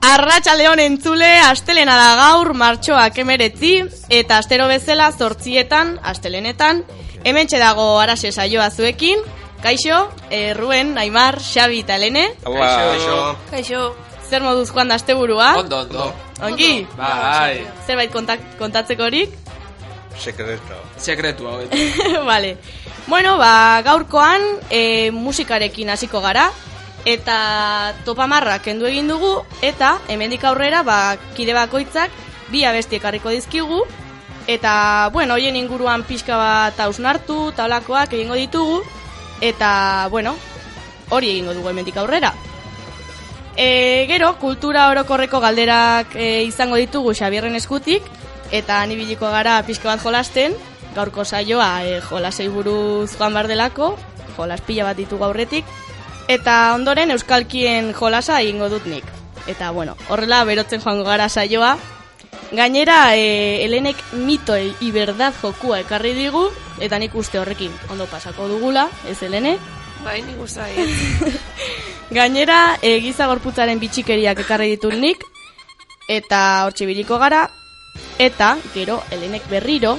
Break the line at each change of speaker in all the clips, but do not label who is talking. Arratxaldeon entzule, astelena da gaur, martxoak emeretzi, eta astero bezala zortzietan, astelenetan, hemen dago arase saioa zuekin, Kaixo, eh, Ruen, Aimar, Xabi eta Lene,
Kaixo,
Kaixo,
zer moduz joan da asteburua?
Ondo, ondo.
Ongi?
Bai.
Zerbait kontak- kontatzekorik?
Sekreto.
Sekretua hau.
vale. Bueno, ba, gaurkoan e, musikarekin hasiko gara eta topamarra kendu egin dugu eta hemendik aurrera ba, kide bakoitzak bi abesti ekarriko dizkigu eta bueno, hoien inguruan pixka bat ausnartu, tablakoak egingo ditugu eta bueno, hori egingo dugu hemendik aurrera. E, gero, kultura orokorreko galderak e, izango ditugu Xabierren eskutik, eta han ibiliko gara pixka bat jolasten, gaurko saioa e, jolasei buruz joan bar delako, jolas pila bat ditugu aurretik, eta ondoren euskalkien jolasa egingo dut nik. Eta bueno, horrela berotzen joango gara saioa. Gainera, e, Elenek mito e, iberdad jokua ekarri digu, eta nik uste horrekin ondo pasako dugula, ez Elene?
bai nik guztai.
Gainera, e, giza gorputzaren bitxikeriak ekarri ditut nik, eta hortxe biliko gara, eta gero Elenek berriro,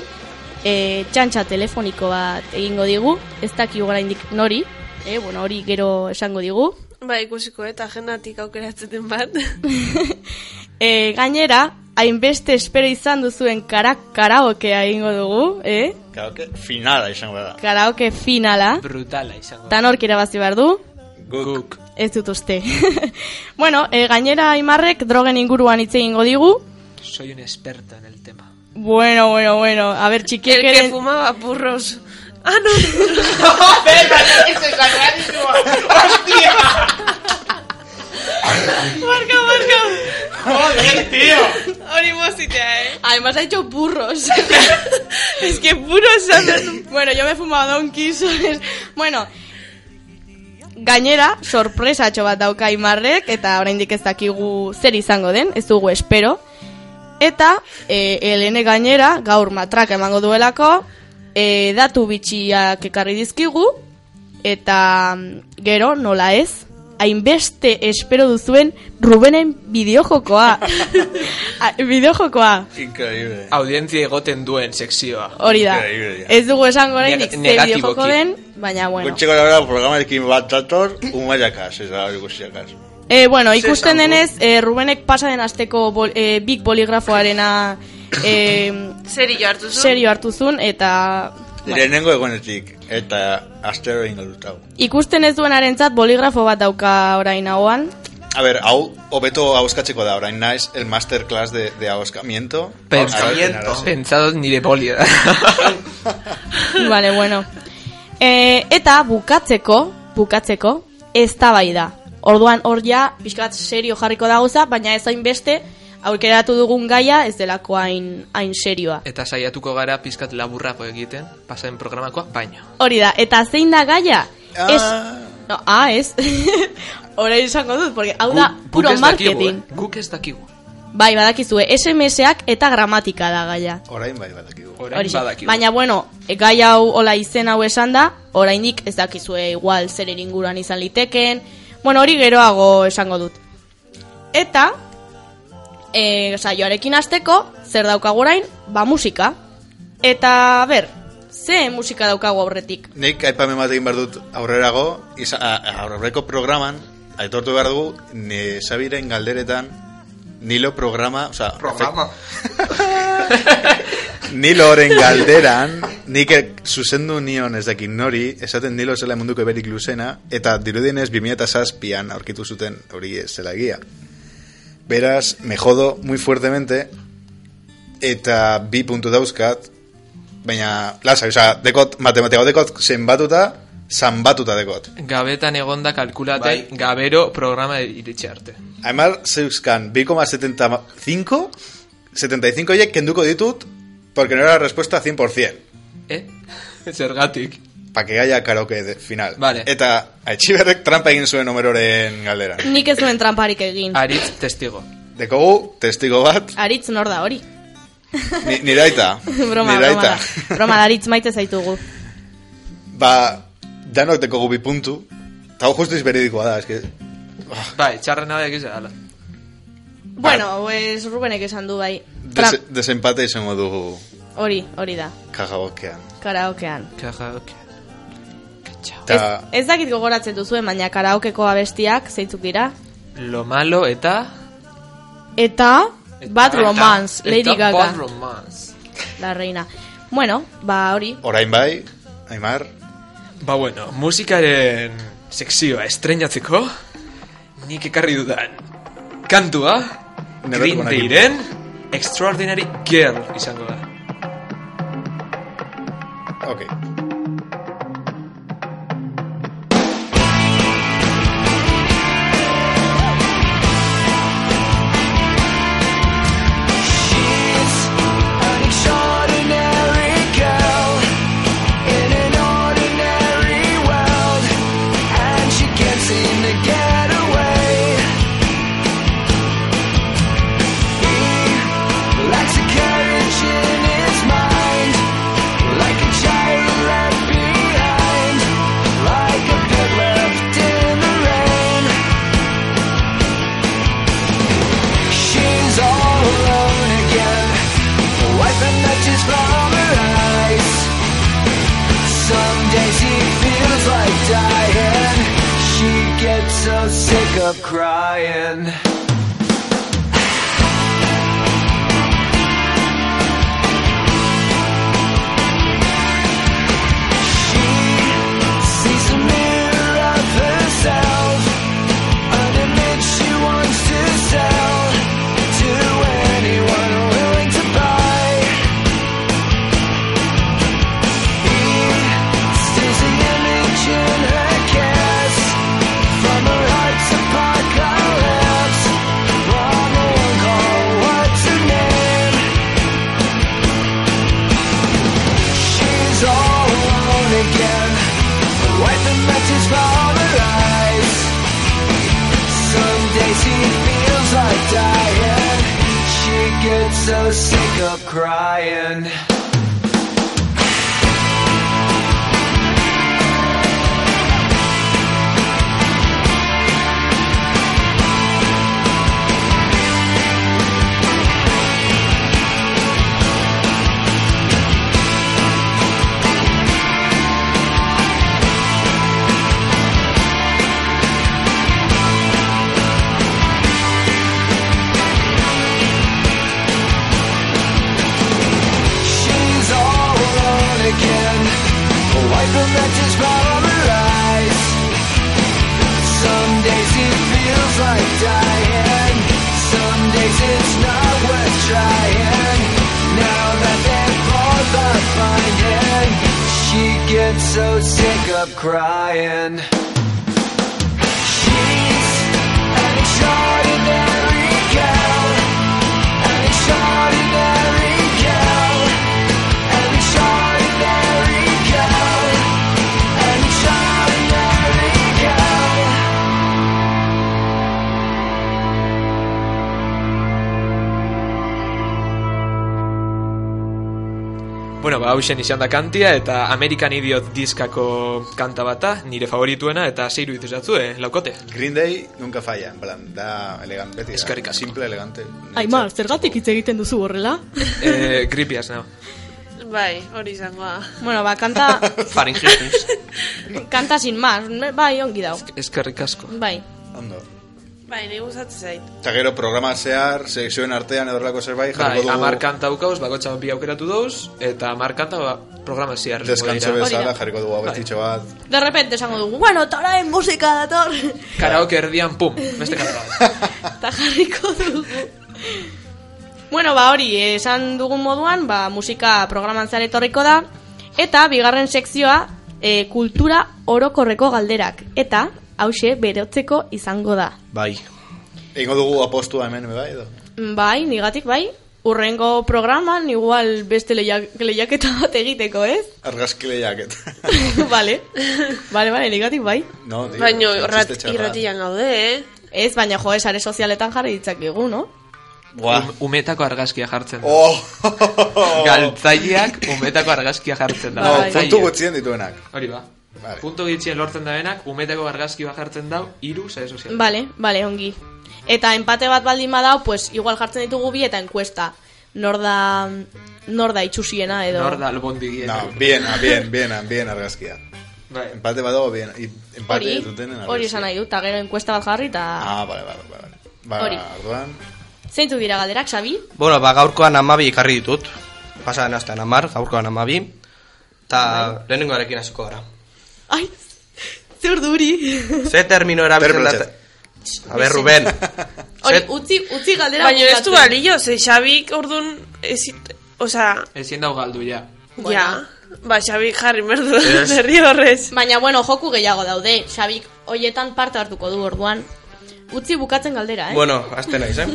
e, txantxa telefoniko bat egingo digu, ez dakigu oraindik nori, e, bueno, hori gero esango digu.
Bai ikusiko eta agendatik aukeratzen den bat.
E, gainera, hainbeste espero izan duzuen kara, karaokea egingo dugu, e?
Karaoke finala izango da.
karaoke finala,
Brutala izango.
eta nork irabazi behar du?
Guk.
Ez dut uste. bueno, e, gainera Aimarrek drogen inguruan hitz egingo digu,
Soy un experto en el tema.
Bueno, bueno, bueno. A ver,
El
chiquiek
que
eren...
fumaba purros. Ah, no. Barka, barka.
Joder, tío!
Hori bozitea, eh.
Además ha hecho burros.
Es que puros saben.
bueno, yo me he fumado donkeys, ¿sabes? Bueno, gainera, sorpresatxo bat dauka Aimarrek, eta oraindik ez dakigu zer izango den, ez dugu espero. Eta, e, Elene gainera, gaur matraka emango duelako, e, datu bitxiak ekarri dizkigu, eta mm, gero, nola ez, hainbeste espero duzuen Rubenen bideojokoa. A- Ah, bideojokoa.
Increíble.
Audientzia egoten duen sekzioa.
Hori da.
Increíble.
Ez dugu esango oraindik
Neg-
ze
negatiboki.
bideojoko den, baina bueno.
Gutxiko da gara programarekin bat dator, umaiakaz, ez da ikusiakaz.
E, bueno, ikusten
esango.
denez, e, Rubenek pasaden asteko bol, e, big boligrafoarena e,
Serio hartu zu?
serio hartu zuen eta bueno,
Lehenengo egonetik, eta astero ingo dut hau.
ikusten ez duenarentzat boligrafo bat dauka orain ahoan.
A ber, hau, hobeto hauskatzeko da, orain naiz, el masterclass de, de hauskamiento.
Pensado, pensado nire bolio.
vale, bueno. E, eta bukatzeko, bukatzeko, ez da. Orduan hor ja, pixka bat serio jarriko da gauza, baina ez hain beste, aukeratu dugun gaia ez delako hain, hain serioa.
Eta saiatuko gara pizkat laburrako egiten, pasaden programakoa, baino.
Hori da, eta zein da gaia?
Ah.
Ez... No, ah, ez.
Bai,
Orain esango dut, porque hau da
Gu- guk
puro
ez dakigu,
marketing.
eh? Guk ez dakigu.
Bai, badakizue, SMS-ak eta gramatika da gaia.
Orain bai badakigu.
Orain
Horixe.
badakigu.
Baina, bueno, e, gai hau hola izen hau esan da, oraindik ez dakizue igual zer inguruan izan liteken. Bueno, hori geroago esango dut. Eta, e, saioarekin hasteko, zer daukagu orain? Ba, musika. Eta, ber, ze musika daukagu aurretik?
Nik aipamen bat egin behar dut aurrerago, iza, a- aurreko programan, aitortu behar dugu, ne Xabiren galderetan, nilo programa, oza,
Programa.
niloren galderan, nik er- zuzendu nion ez dakit nori, esaten nilo zela munduko berik luzena, eta dirudienez 2007an aurkitu zuten hori ez zela egia. Beraz, me jodo muy fuertemente, eta bi puntu dauzkat, baina, lasa, oza, dekot, matematiko dekot zenbatuta, zanbatuta dekot.
Gabetan egonda kalkulate
Bai.
gabero programa iritsi arte.
Aimar zeuzkan 2,75 75 horiek kenduko ditut porque no era la respuesta 100%.
Eh? Zergatik.
Pa que haya karaoke de final.
Vale.
Eta Aitziberrek trampa egin zuen omeroren galdera.
Nik ez nuen tramparik egin.
Aritz testigo.
Dekogu, testigo bat,
Aritz nor da hori.
ni, nire aita.
broma,
nire aita.
broma da. Broma da, Aritz maite zaitugu.
Ba, danok dekogu bi puntu. Eta hau justiz beridikoa da, eske.
Bai, txarrena da egize ala.
Bueno, pues Rubenek esan du bai. Tra-
Des, desempate izango dugu
Hori, hori da.
kajabokean.
Karaokean.
Karaoke.
Ez,
Eta
ez dakit gogoratzen duzuen, baina karaokeko abestiak zeintzuk dira.
Lo malo eta...
Eta Bad
Eta-
Romance,
eta
Lady
Bad
Gaga,
Romance.
la reina. Bueno, ba hori.
orain bai, Aimar,
Ba bueno, musikaren sekzioa estrenatzeko, nik ekarri dudan. Kantua,
Never
Green
Gonna Give Up.
Dayren, Extraordinary Girl izango da.
ok.
She's all alone again, wiping the tears from her eyes. Some days he feels like dying. She gets so sick of crying. She sees a mirror of herself. An image she wants to sell to anyone willing to buy. He stays the image in her kiss from her heart's apocalypse. One will call what's her name? She's all alone again, wiping matches from her eyes. Some days he feels like dying. She gets so sick of crying. She's all alone again, wiping the tears from her eyes. Some days it feels like dying. Some days it's not worth trying. Now that they're both are finding, she gets so sick of crying. She's an extraordinary girl, an extraordinary girl. An extraordinary girl. An extraordinary girl.
Bueno, ba, hausen izan da kantia eta American Idiot diskako kanta bata, nire favorituena eta zeiru dituzatzu, eh, laukote.
Green Day nunca falla, en plan, da elegante. beti da.
Eskerrik asko.
Simple, elegante.
Aimar, zergatik hitz egiten duzu horrela?
eh, gripiaz, nao.
Bai, hori izango da.
Bueno, ba, kanta,
Faringismus.
kanta sin más. Bai, ongi dau.
Eskerrik asko.
Bai.
Ondo.
Bai, nahi gustatzen zait.
Eta gero programa zehar, sekzioen artean edorlako zerbait,
Bai,
jarriko dugu
amar kanta daukauz, bakotxa bi aukeratu dauz, eta amar kanta ba, programa ziar.
deskantzo bezala,
Hori da.
jarriko dugu
Bai.
abestitxo bat.
De repente esango dugu, bueno, eta orain musika dator.
Karaoke erdian, pum, beste kanta.
Eta jarriko dugu. Bueno, ba hori, eh, esan dugun moduan, ba, musika programan zare etorriko da. Eta bigarren sekzioa e, kultura orokorreko galderak eta hause berotzeko izango da.
Bai.
Egingo dugu apostua hemen, bai, edo?
Bai, nigatik bai. Urrengo programan igual beste lehiak, lehiaketa bat egiteko, ez?
Argazki lehiak eta...
vale. Vale, vale, nigatik bai.
No, tio,
Baina
txiste
irrat,
txarra.
irratian gaude, eh?
Ez, baina jo, esare sozialetan jarri ditzakegu, no?
Buah.
Um- umetako argazkia jartzen da.
Oh!
Galtzaileak umetako argazkia jartzen da.
No,
Bai.
puntu
Galtzaile.
gutxien dituenak.
Hori ba.
Vale.
Punto gitzien lortzen da benak, umetako argazki bat jartzen dau, iru sare sozial.
Vale, vale, ongi. Eta empate bat baldin badao, pues igual jartzen ditugu bi eta enkuesta. Nor da, nor da itxusiena edo.
Nor da albondigien.
No, bien, ah, bien, bien, bien argazkia.
Bai.
Empate badago, bien. i- Empate
Hori,
dutenen argazkia.
hori
eh?
esan nahi dut, eta gero enkuesta bat jarri eta...
Ah, bale, bale, bale. Ba,
Hori.
orduan,
Zeintu dira galderak, Xabi?
Bueno, ba, gaurkoan amabi ikarri ditut. Pasaden astean amar, gaurkoan amabi.
Bai.
Eta lehenengoarekin hasiko gara.
Ai, zer duri.
Ze termino erabiltzen da...
Terminotxet.
A ber, Ruben.
Hori,
Ze-
utzi, utzi galdera
Baina ez du
bukatzen.
balio, ze Xabik ordun ezit... Osa,
Ezin dau galdu ja.
Bueno.
ja... Ba, Xabik jarri merdu
Ez.
berri horrez.
Baina, bueno, joku gehiago daude. Xabik, hoietan parte hartuko du orduan. Utzi bukatzen galdera, eh?
bueno, azte naiz, eh?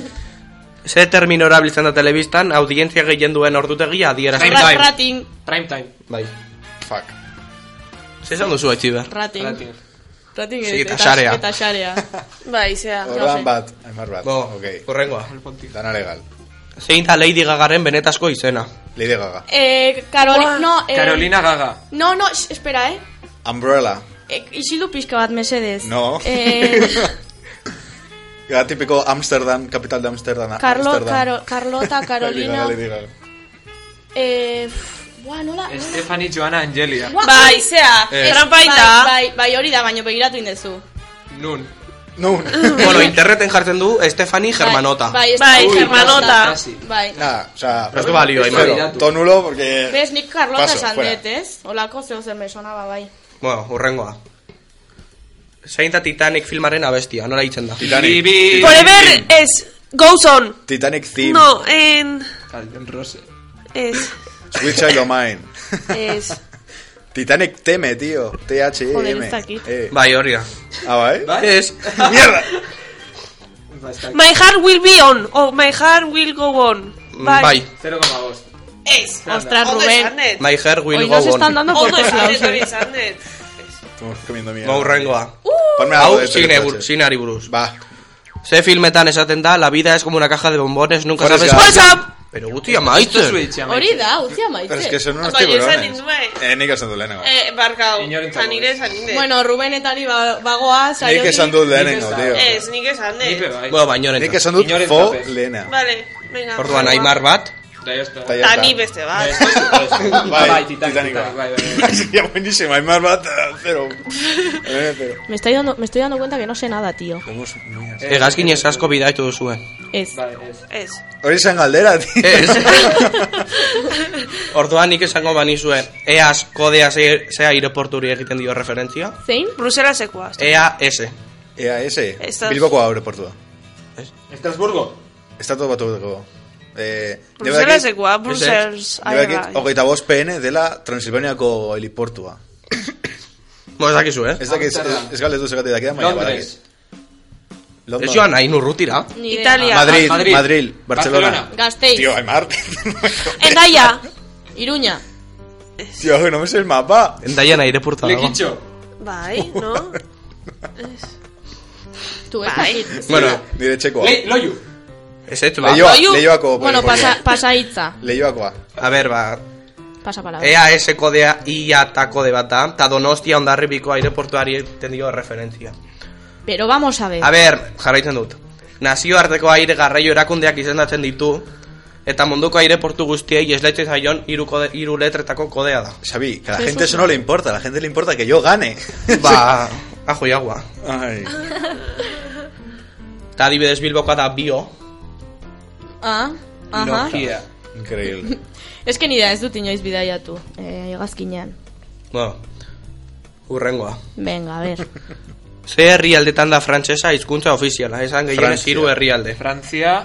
Ze termino erabiltzen da telebistan, audientzia gehien duen ordutegia adierazten
Ra-
da.
rating,
Prime time.
Bai.
fuck.
Ze esan duzu, Aitziber?
rating.
Rating.
Rating
Sí,
eta,
eta xarea.
Eta xarea.
Bai, zea.
Orduan ba, bat, aimar bat.
Bo,
ok.
horrengoa.
Alpontik.
Dana legal.
Zein da Lady Gagaren benetazko izena?
Lady Gaga.
eh, Caroli,
Buah.
no, eh,
Carolina Gaga.
No, no, sh- espera, eh?
Umbrella.
E, isildu pixka bat mesedez.
No.
Eh,
Gaga tipiko Amsterdam, kapital de Amsterdam.
Carlo,
Amsterdam.
Caro, Carlota, Carolina.
Lady Gaga, Lady Gaga.
eh, pff, buah, nola?
Eh.
nola-
Stephanie Joana Angelia.
Buah,
Bai, zea.
Eh.
Bai,
Trampaita.
bai, bai, hori da, baino begiratu indezu.
Nun.
No,
bueno, interneten jartzen du Estefani
Ah.
Germanota.
Bai,
Bai,
bai,
Germanota.
Casi.
Bai.
nada, o sea...
Ez du balio, Aimar.
Cero,
Validatu.
tonulo, porque...
Bez, nik Carlota
eh, Paso,
esan
fuera.
dut, ez? Olako zeo zen me sonaba, bai.
Bueno, urrengoa. Zein da Titanic filmaren abestia, nola hitzen da?
Titanic.
Bibi.
Forever ez, goes on.
Titanic theme.
No, en...
Calden Rose.
Ez,
Sweet Child O' Mine.
ez.
Titanic teme, tío.
Joder,
T-H-E-M.
ez dakit.
Eh.
Bai, hori da.
Ah, bai?
Bai.
Ez.
Mierda!
Ba,
Bai,
ez dakit.
My heart will be on, o my heart will go on.
Bai. bai.
0,5.
Ez.
Ostras,
Ondo
Rubén.
esan dut.
My hair will
Hoy
go
nos
on.
están dando por
Ondo esan
todos
dut, hori
eh.
lados.
esan dut.
Estamos comiendo mierda.
Ba, urrengoa.
Uh.
Ponme algo
Hau,
de
zine
Terry
buru-
Pratchett.
zineari buruz.
Va.
Ze filmetan esaten da, la vida es como una caja de bombones, nunca
Forrest
sabes...
Gump.
Forrest Gump.
Pero
Esto
guti
es
amaitzen.
Switch, amaitzen.
Hori da, utzi amaitze.
Pero es que son unos
Baina Bai, esan
tiburones.
ninduen.
Eh, nik esan dut lehenengo.
Eh, barkau,
Inorentzako
zanire,
ez.
zanire.
Bueno, Ruben eta ni ba- bagoa, saioki.
Nik esan dut lehenengo,
Nik
tío.
esan.
Ez, nik esan
Ni be
dut.
bai.
Bueno, baino
Nik
honetan.
esan dut
Inoren
fo
tape.
lehena.
Vale, venga.
Orduan, Aimar bat.
Da, ya está.
Ta ya
Ta
está.
ni beste bat.
Bai,
Bai,
bai, Titanic,
Titanic,
Titanic, bai, bai.
Sería buenísimo. Aimar bat, eh, cero. Eh, pero...
Me estoy, dando, me estoy dando cuenta que no sé nada, tío.
Somos niñas.
Egazkin ez asko bidaitu
eh,
duzuen.
Ez.
Bai, ez.
Ez.
Hori izan galdera, tío.
Ez. Orduan nik esango banizuen, eaz kodea ze, ze aireporturi egiten dio referentzia?
Zein?
Brusela sekuaz.
Eh.
Ea S.
Ea, ese.
Estas-
Bilboko aeroportua.
Estrasburgo.
Estatu batuko. Eh,
Brusela
nebadakit-
sekoa, Brusels.
nebadakit Hogeita bost PN dela Transilvaniako heliportua.
Bo, ez dakizu, eh?
Ez dakiz, ez,
Amsterdam.
ez galdetu zergatik dakidan, baina
Londres.
badakit. London.
Ez joan nahi nurrutira.
Ni idea.
Italia.
Madrid,
Madrid.
Madrid, Barcelona.
Barcelona.
Gasteiz.
Tío, eh. Aymar.
Endaia.
Iruña.
Tío, no me sé el mapa.
Endaian aireportua dago.
Lekitxo.
Bai, no?
Tu ez
Bai.
dakit.
Bueno,
Nire txekoa.
Le- Loiu.
ez ez, ba.
Leioa,
Loiu-
leioako.
Bueno, pasa, pasa hitza.
Leioakoa.
A ber, ba,
Pasa palabra.
Ea S kodea ia ta kode bat da, eta donostia ondarribiko aireportuari egiten dio referentzia.
Pero vamos a ver.
A ber, jarraitzen dut. Nazioarteko aire garraio erakundeak izendatzen ditu, eta munduko aireportu guztiei eslaitzen zaion hiru, kode, hiru letretako kodea da.
Xavi, que a la gente eso no le importa. A la gente le importa que yo gane.
Ba, ajo y agua.
Ay.
Eta adibidez bilbokoa da bio,
Ah, aha.
Nokia.
Increíble.
Ez que nida ez dut inoiz bidaiatu. Eh, egazkinean.
Bueno, urrengoa.
Venga, a ver.
Ze herrialdetan da frantsesa hizkuntza ofiziala, esan gehienez
Frantzia.
hiru herrialde.
Frantzia.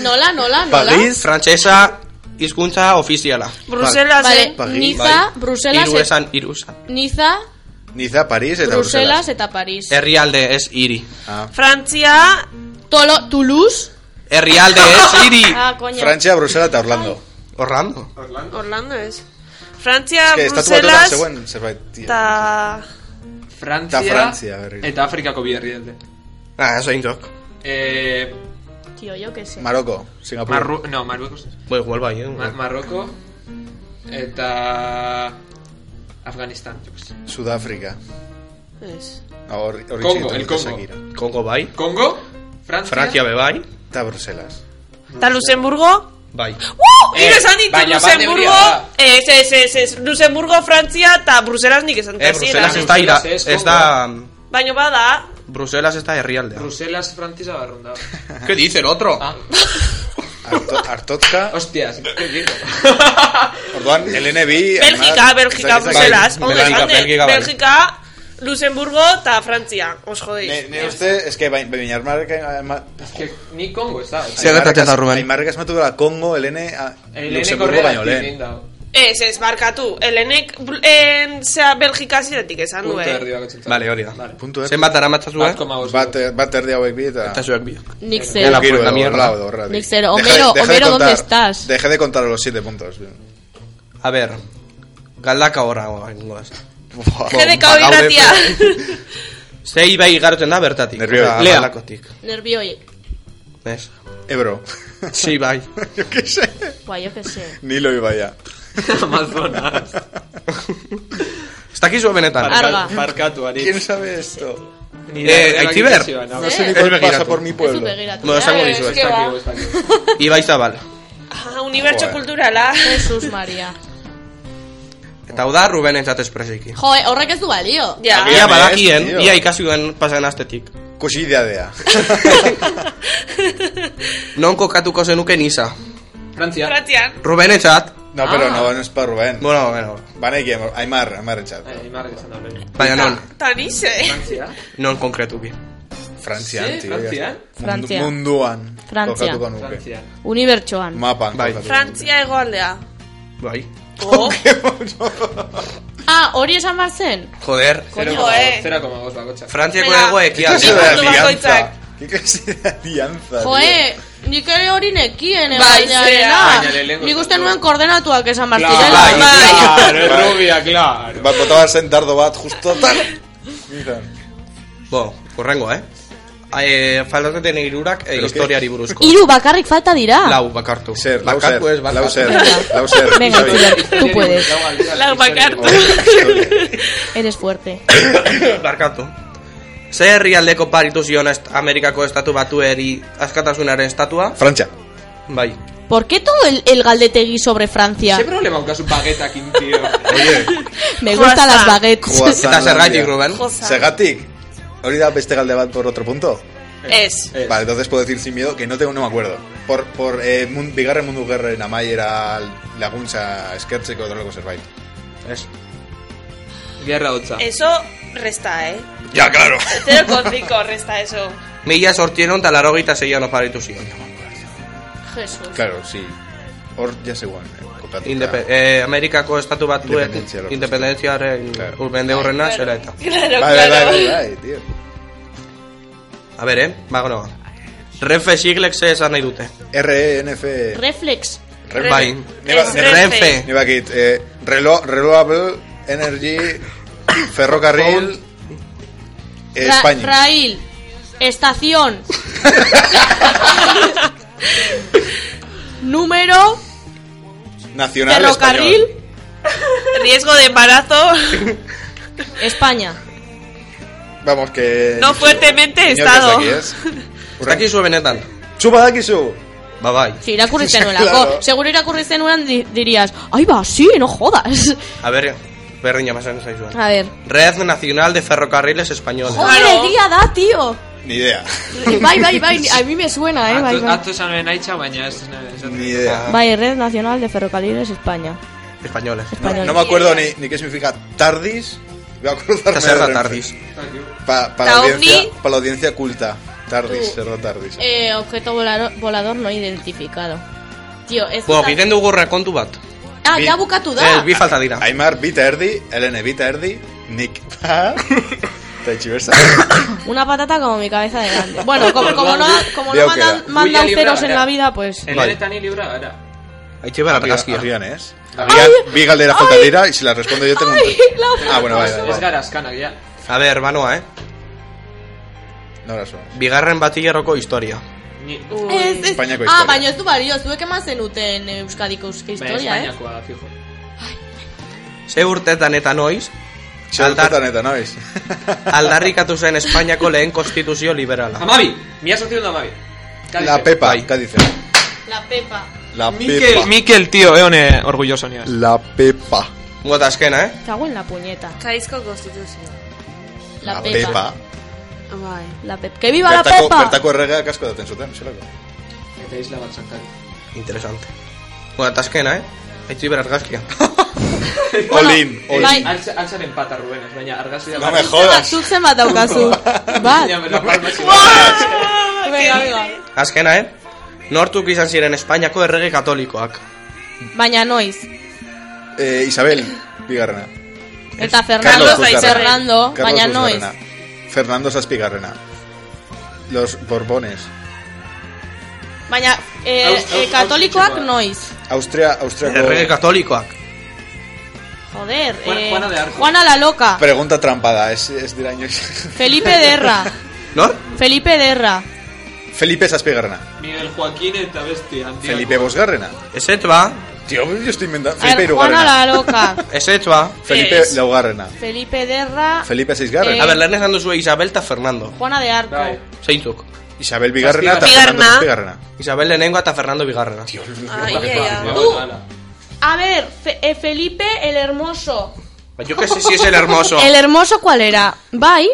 Nola, nola, nola.
París,
Frantsesa, hizkuntza ofiziala.
Brusela
eh.
Vale,
Paris,
eh. Niza, Bruselas, eh.
Hiru
et-
esan, hiru esan.
Niza,
Niza, Paris eta
Bruselas eh.
Bruselas.
eta Paris.
Herrialde ez hiri.
Ah.
Frantzia,
Tolo, Toulouse.
Herrialde ez hiri.
Ah, koño.
Frantzia, Brusela eta Orlando.
Orlando.
Orlando ez. Frantzia,
Eske, estatu batuta
Ah, Bruselas,
zegoen zerbait. tio.
eta...
Frantzia,
Eta Frantzia, berriro.
eta Afrikako bi herrialde.
Ah, eso intok.
Eh,
Tío, yo qué sé.
Maroko, Singapur.
Marru... No, Marruecos.
Bo, igual bai, eh?
Ma Marroko eta Afganistan. jo que sé.
Sudafrika.
Ez.
Hor, hor
Kongo,
itxi
el
dut
Kongo.
Shakira.
Kongo bai.
Kongo, Frantzia.
Francia be bai.
Eta Bruselas.
Eta Luxemburgo?
Bai.
Uh!
Eh,
Hiru esan ditu
baina bat
Luxemburgo!
euria da.
Ez, ez, ez, ez. Luxemburgo, Frantzia eta Bruselas nik esan
Eh,
zera.
Bruselas Bai, ez da ira,
Bruselas ez,
ez da...
Baina bada,
Bruselas ez da herrialdea.
Bruselas, Frantzia, barrunda.
¿Qué dice el otro?
Ah,
Arto, Artotzka.
hostias, ¿qué digo?
Orduan, LNB...
Bélgica, Bélgica, Bruselas.
Bai,
Ondo
Bélgica,
esan dut.
Bélgica, bai.
Bélgica, Luxemburgo eta Frantzia. Os jodeiz.
Ne uste, eske, bain, bain, armarrek...
Es que ni Kongo ez da.
Zer gertatzen da, Ruben?
Aimarrek asmatu dela Kongo, Elene... a-
Heleneko
Luxemburgo baino
horregatik egin
lehen.
dago.
Ez, ez, barkatu. Helenek, bl- en, zea, Belgika ziretik esan du,
Punto
eh.
erdioak etxeltzen.
Vale, hori da.
Vale.
Puntu erdi.
Zenbat dara matzazua?
Bat koma bost.
Bat, bat erdi hauek bi eta...
Eta zuek biok.
Nik zer.
Gela.
Gero, edo,
puta pues, mierda.
Orlao, edo horregatik.
Nik zer,
Deja de-
Homero,
deja de
Homero, ¿dónde
contar-
estás?
Deja de contar los siete puntos.
A ber, galdaka horra goa.
Buah.
Jedeka
Ba,
hori
gaude,
gratia.
Zei bai igarotzen da bertatik.
Nervioi.
Eta
Lea.
Galdakotik.
Nervioi.
Ez.
Ebro.
Sí, bai.
Yo qué sé.
Guai, yo qué sé.
Nilo ibaia.
Amazonas.
Ez dakizu benetan.
Barkatu. Arga.
Barkatu, ari.
¿Quién sabe esto?
Ni
Eh,
nire
Aitziber.
erabakizioa, nago.
No sé
Eh,
ni
es
cuál pasa
begiratu.
por mi
Ez dut
pueblo.
begiratu.
Bueno, esango
Eh,
dizu.
eske ba.
Bakigu, ez bakigu.
Ibai Zabal.
Ah, Unibertso
Joder.
kulturala.
Jesus Maria.
Eta hau da Ruben entzat espresiki.
Jo, eh, horrek ez du balio.
Ja.
Agian
Ia
ez,
badakien,
tío.
ia ikasi duen pasan astetik.
Kusidadea.
Non kokatuko zenuke Nisa.
Frantzia.
Frantzian.
Ruben entzat.
No,
Ah.
pero no, no es para Rubén.
Bueno, bueno.
Banekien, Aimar, Aimar etxat.
Eh, Imarrek esan da lehen.
Baina non,
Tan ize.
Frantzia.
non konkretuki.
Frantzian,
Sí,
tio.
Frantzian.
Frantzian.
Mundu- Munduan.
Frantzian.
Kokatuko nuke.
Frantzia.
Unibertsoan.
Mapan.
Bai.
kokatuko
Frantzia egoaldea.
Bai.
Oh,
Ah, hori esan behar zen?
Joder.
Zero
Coño,
koma
eh.
bost, zero koma bost bakotxa.
Frantziako
Venga.
dago
nuke. Clase
ekialdean.
de
Mundu bakoitzak.
alianza. ¿Qué clase de alianza? tío?
Joe, nik ere hori nekien
Bai,
egaldearena.
zera. Baina
Nik uste
lehenengo
nuen koordenatuak esan behar
Claro,
zirela.
bai,
bai.
claro, es rubia, claro.
Bat botaba zen dardo bat, justo tan. Izan.
Bo, horrengo, eh? E, Faldatzen irurak e,
Pero
historiari buruzko.
Hiru bakarrik falta dira.
Lau bakartu.
Ser, lau ser.
bakartu ez,
Lau ser.
bakartu.
Lau ser.
Ah. Venga,
Xabi.
tío. Tú puedes.
Lau bakartu.
Eres fuerte.
Barkatu. Ze herrialdeko paritu zion est Amerikako estatu batueri askatasunaren estatua?
Frantza.
Bai.
¿Por qué todo el, el galdetegui sobre Francia?
Ze problema haukazu bagetakin, tío?
Oye,
Me gustan las baguettes.
croissant
Eta zergatik,
landia.
Ruben?
Josa.
Segatik. Hori da beste este galde bat por otro punto.
Ez.
Eh,
Vale, entonces puedo decir sin miedo que no tengo, no me acuerdo. Por, por eh, mun, bigarren mundu gerren amaiera laguntza eskertzeko dolako zerbait.
Ez.
Gerra hotza.
Eso resta, eh.
Ja, claro.
Zero konziko resta eso.
Mila sortieron eta laro gita zeion oparitu zion.
Jesús.
Claro, sí. Hor, ya sé, bueno. eh, kokatuta.
Indepe eh, Amerikako estatu batuen
Independentzia lortu.
independentziaren
Claro.
urbende horrena zela eta.
Claro,
Bai, bai,
claro.
bai, bai, tío.
A ber, eh? Ba, bueno. Renfe siglek ze esan nahi dute.
RNF...
Reflex.
Renfe.
Bai.
Ne ba-
Ez
ne-
E
Renfe.
ne bakit, eh, relo, Renewable Energy Ferrocarril eh,
Ra-
España.
Rail. Estación. Número.
Nacional
Ferrocarril.
español.
Riesgo de embarazo.
España.
Vamos, que...
No fuertemente
Inork ez
estado.
dakiez.
Ez dakizu benetan.
Txupa dakizu!
Ba, bai.
Si irakurri zenuelako.
Claro.
Seguro irakurri zenuen di- dirías, ay va, sí, no jodas.
A ber, berdina pasan zaizuen.
A ver.
Red Nacional de Ferrocarriles Españoles.
Joder,
Claro.
egia da, tío.
Ni idea.
Bai, bai, bai, a mí me suena, eh, bai,
Atzo
bai.
atzo esan nuen aitxa, baina ez ez- ez-
Ni idea.
Bai, Red Nacional de Ferrocarriles España.
Españoles.
Español.
No me acuerdo ni, ni qué significa tardis. Voy a acordarme
Eta zer da
de Renfe.
tardiz.
Pa- para, la
Ta
audiencia,
ovni.
para la audiencia culta. Tardis, cerdo tardis.
Eh, objeto volaro- volador no identificado. Tio, ez
Bo,
da-
egiten dugu rekontu bat.
Ah,
bi-
ja bukatu da.
Ez, bi falta dira.
Aimar bita erdi, Elene bita erdi, nik bat, eta itxiberza.
Una patata como mi cabeza de grande. Bueno, como, como no, como no
Veo
mandan,
que-
mandan
Uy, ya
ceros
libraba,
en
ya.
la vida, pues...
Elena eta ni libra gara.
Aitxe bera pegazkia.
Agian ez? Agian, bi galdera falta dira, y si la respondo yo tengo un...
Ay, la-
Ah, bueno, bai, bai,
Ez
bai.
gara azkanak, ja.
A ber, banoa, eh?
No la somos.
Bigarren batileroko historia.
Ni...
Ez, ez.
Espainiako
Ah,
historia.
baina ez du balio, zuek eman zenuten eh, Euskadiko euska
Baina
historia, eh?
Espainiakoa, fijo.
Ze urtetan eta noiz,
Xertetan eta noiz.
aldarrikatu zen Espainiako lehen konstituzio liberala.
Amabi! Mila sortzion da amabi.
La Pepa, ¿qué dice?
La Pepa.
La
Mikel,
Pepa.
Mikel, tío, eone orgulloso niaz.
La Pepa.
Gota azkena, eh?
Cago en la puñeta.
Kaizko konstituzioa.
La,
La
Pepa.
Pepa.
Bai.
La Pepa. Que viva la
Bertako-
Pepa.
Bertako erregea kasko daten zuten, zelako.
Eta isla bat zankari.
Interesante. Gota azkena, eh? Aitxe bera argazkia.
Olin,
Bai.
olin.
Altza- Altzaren pata, Rubenez, baina argazi da...
No me jodas.
Zuk zenbat daukazu. Bat.
Baina, baina, baina,
Venga, venga.
Azkena, eh? Nortuk izan ziren Espainiako errege katolikoak.
Baina noiz.
Eh, Isabel, bigarrena.
Eta Fernando,
Carlos
Carlos,
Buzgarrena.
Fernando,
Carlos
baina noiz.
Buzgarrena. Fernando Zazpigarrena. Los Borbones.
Baina eh,
Aus-
eh,
aus-
katolikoak
aus-
noiz.
Austria, Austriako...
Errege katolikoak.
Joder,
Juan-
eh,
Juana de Arco.
Juana la Loca,
Pregunta trampada, es, es dira inoiz.
Felipe Derra,
Nor?
Felipe Derra,
Felipe Zazpigarrena.
Miguel Joaquín eta beste Antiago.
Felipe Bosgarrena.
Ezetz ba,
Tío, yo estoy inventando.
A
Felipe
ver, Juana
Hirugarrena.
la Loca,
ezetz ba.
Felipe
Es.
Laugarrena.
Felipe Derra,
Felipe Seisgarrena.
A ber, lehen esan duzu Isabel eta Fernando.
Juana de Arco.
Bai.
Zeintzuk.
Isabel Bigarrena eta
Zazpigarrena.
Fernando Zazpigarrena.
Isabel lehenengoa eta Fernando bigarrena.
Ai, ai, ai.
Bueno, ala.
A ver, Fe- eh, Felipe el Hermoso.
Ba, Yo que sé si es el hermoso.
¿El Hermoso cuál era? Bai,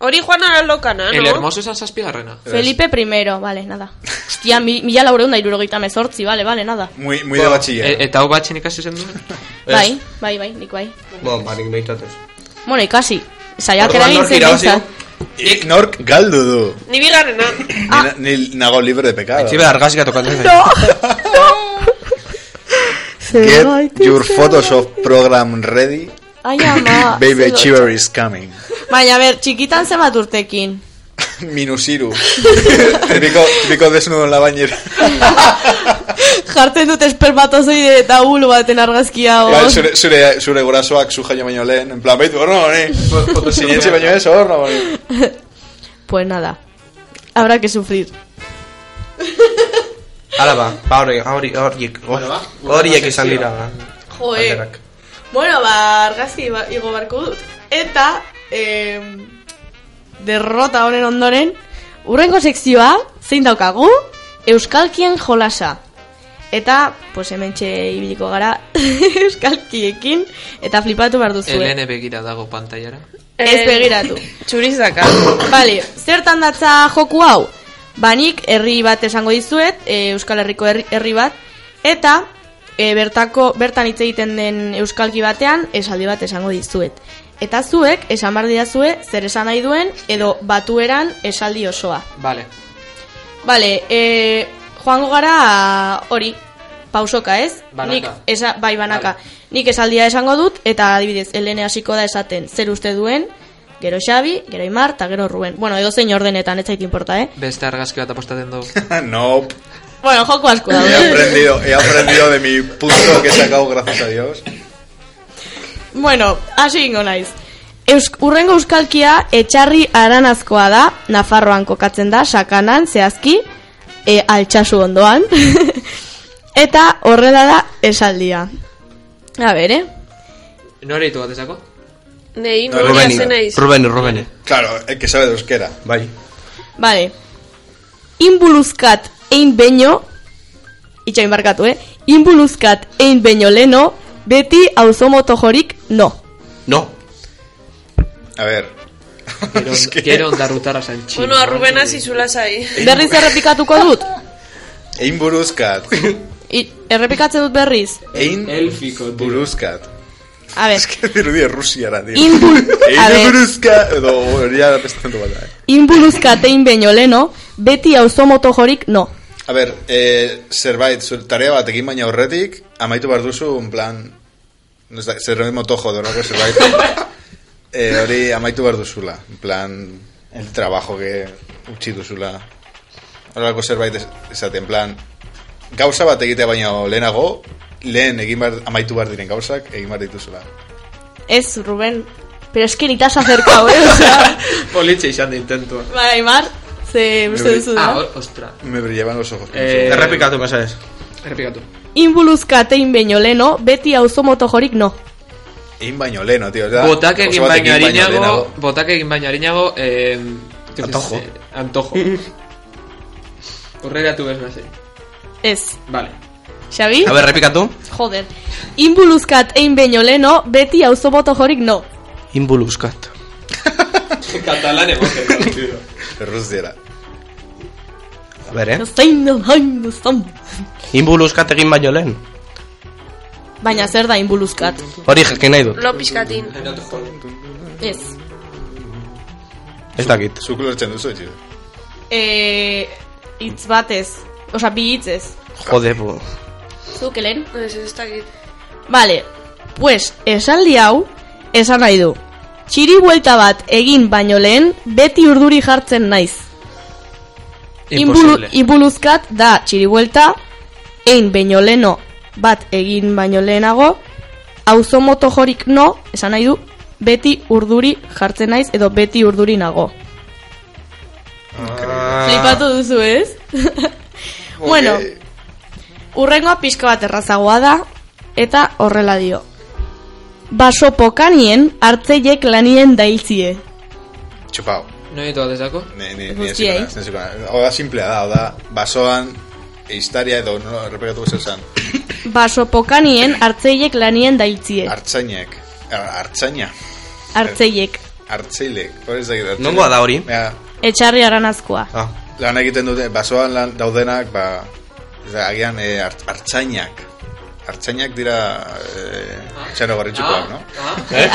Hori Juana Lokana, no?
El hermoso esan zazpigarrena.
Felipe primero, vale, nada. Hostia, mi, mila laureunda irurogeita mezortzi, vale, vale, nada.
Muy, muy de bachiller.
E- Eta hau batxen ikasi zen duen?
Ez.
Bai, bai, bai, nik bai.
Bon, ba, nik behintzat ez.
Bueno, ikasi, saiakera
Orduan
egin
nork
zen
irabazi
behintzat.
du?
Ik nork galdu du.
Ni bigarrena.
Ah.
Ni, ni nago libre de pecado.
Aitzibe argazkia tokatzen zait.
Get your Photoshop program ready.
Ai, ama.
Baby
zedo-
Achiever is coming.
Baina, ber, txikitan zenbat urtekin?
Minus hiru. Típico, típico desnudo en la bañera.
Jartzen dut espermatozoide eta bulu baten argazkia
Bai,
hor.
zure, zure, zure gurasoak zu jaio baino lehen. En plan, baitu, horno honi. Sinetxe baino ez, horno honi.
Pues nada, habrá que sufrir.
Hala ba, ba hori, hori, horiek, oh,
Bueno, ba,
horiek izan dira. ba. Galderak.
Bueno, ba, argazki ba- igo barko dut. Eta, eh, derrota honen ondoren, urrengo sekzioa, zein daukagu? Euskalkien jolasa. Eta, pues hemen ibiliko gara Euskalkiekin, eta flipatu behar duzue.
Elene begira dago pantailara.
Ez begiratu.
Txurizaka.
Bale, zertan datza joku hau? Banik herri bat esango dizuet, e, Euskal Herriko herri, herri bat, eta e, bertako, bertan hitz egiten den euskalki batean esaldi bat esango dizuet. Eta zuek esan behar didazue zer esan nahi duen edo batueran esaldi osoa.
Vale.
Bale, e, joango gara hori, pausoka ez?
Banaka.
Nik, esa, bai, banaka.
Vale.
Nik esaldia esango dut, eta adibidez, Elene hasiko da esaten zer uste duen, gero Xabi, gero Imar, eta gero Ruben. Bueno, edo zein ordenetan, ez zait importa, eh?
Beste argazki bat apostaten du.
Nope.
Bueno, joko asko
He
daude.
aprendido, he aprendido de mi punto que he sacado, gracias a Dios.
bueno, hasi ingo naiz. Eusk, urrengo euskalkia etxarri aranazkoa da, Nafarroan kokatzen da, sakanan, zehazki, e, altxasu ondoan. eta horrela da esaldia. A ber, eh?
Nore ditu batezako?
Nei,
No,
nori
Rubeni.
hazen naiz.
Rubeni, Rubeni.
Claro, el que sabe de euskera.
Bai.
Vale. Inbuluzkat ein beño, itxain barkatu, eh? Inbuluzkat ein beño leno, beti auzomoto jorik no.
No.
A ver.
Gero,
Es que-
gero ondarrutara zantxin.
Bueno, a Ruben azizula zai.
Berriz errepikatuko dut.
Ein buruzkat.
I, errepikatzen dut berriz.
Ein
Elfiko, tío.
buruzkat.
A ber,
Es que dirudi Rusiara, tío.
Inbul... A
Ein
ber,
buruzkat. Edo, hori da beste tanto bat da. eh.
inbuluzkat ein beño leno, beti auzomoto jorik no.
A ber, e, zerbait, zur, tarea batekin baina horretik, amaitu behar duzu, un plan, no ez da, zer hori motojo, dorako zerbait. e, hori amaitu behar duzula, en plan, el trabajo que utzi duzula. Horrelako zerbait ez- esaten, en plan, gauza bat egitea baino lehenago, lehen egin behar, amaitu behar diren gauzak, egin behar dituzula.
Ez, Ruben. Pero es que ni te has acercado, eh? O sea,
Politxe izan da intentua.
bai, Mar, ze uste duzu
Ah,
da?
hor- ostra.
Me brillaban los ojos.
Eh,
Errepikatu, mesedez.
Errepikatu.
Inbuluzka tein baino leno, beti auzo motojorik no.
Egin baino leheno, tío. ez da?
Botak
Gauza
egin
bat
baina harinago,
lehenago.
botak egin baina harinago, eh, entonces,
Antojo.
eh, antojo. Horreratu ez nazi.
Ez.
Vale.
Xabi?
A ber, errepikatu.
Joder. Inbuluzkat ein baino leno, beti auzo motojorik no.
Inbuluzkat.
Katalan emoten.
Erruzdiera.
A ber, eh?
Zein da, hain duztan.
Inbuluzkat egin baino lehen.
Baina zer da inbuluzkat?
Hori jakin nahi dut.
Lo pixkatin.
Ez.
Ez dakit.
Zuk lortzen duzu, txio.
E, hitz batez. Osa, bi hitzez.
Jode, bu.
Zuk, helen?
Ez, ez dakit.
Vale, pues esaldi hau esan nahi du. Txiri buelta bat egin baino lehen beti urduri jartzen naiz.
Imposible.
inbuluzkat da txiri buelta, ein baino leheno bat egin baino lehenago, auzo moto jorik no, esan nahi du, beti urduri jartzen naiz edo beti urduri nago. Flipatu duzu ez? Bueno,
Ok.
Urrengoa pixka bat errazagoa da, eta horrela dio. Baso pokanien hartzeiek lanien dailtzie.
Txupau.
No ditu bat ezako?
Ni, ni, ni
Guztiei.
ezin ez zikona. Oda simplea da, oda, basoan, eistaria edo, no, errepekatu zer zen,
Baso pokanien hartzeiek lanien dailtzie.
hartzainek, Ar- hartzaina,
Hartzeiek.
hartzeilek, hori ez dakit. hartzaile.
Nongoa da hori?
Bea,
Etxarri aranazkoa.
Ah.
lan egiten dute, basoan lan daudenak, ba, ez da, agian e, hart- hartzainak. Hartzainak dira e, txero garritxukoak, no?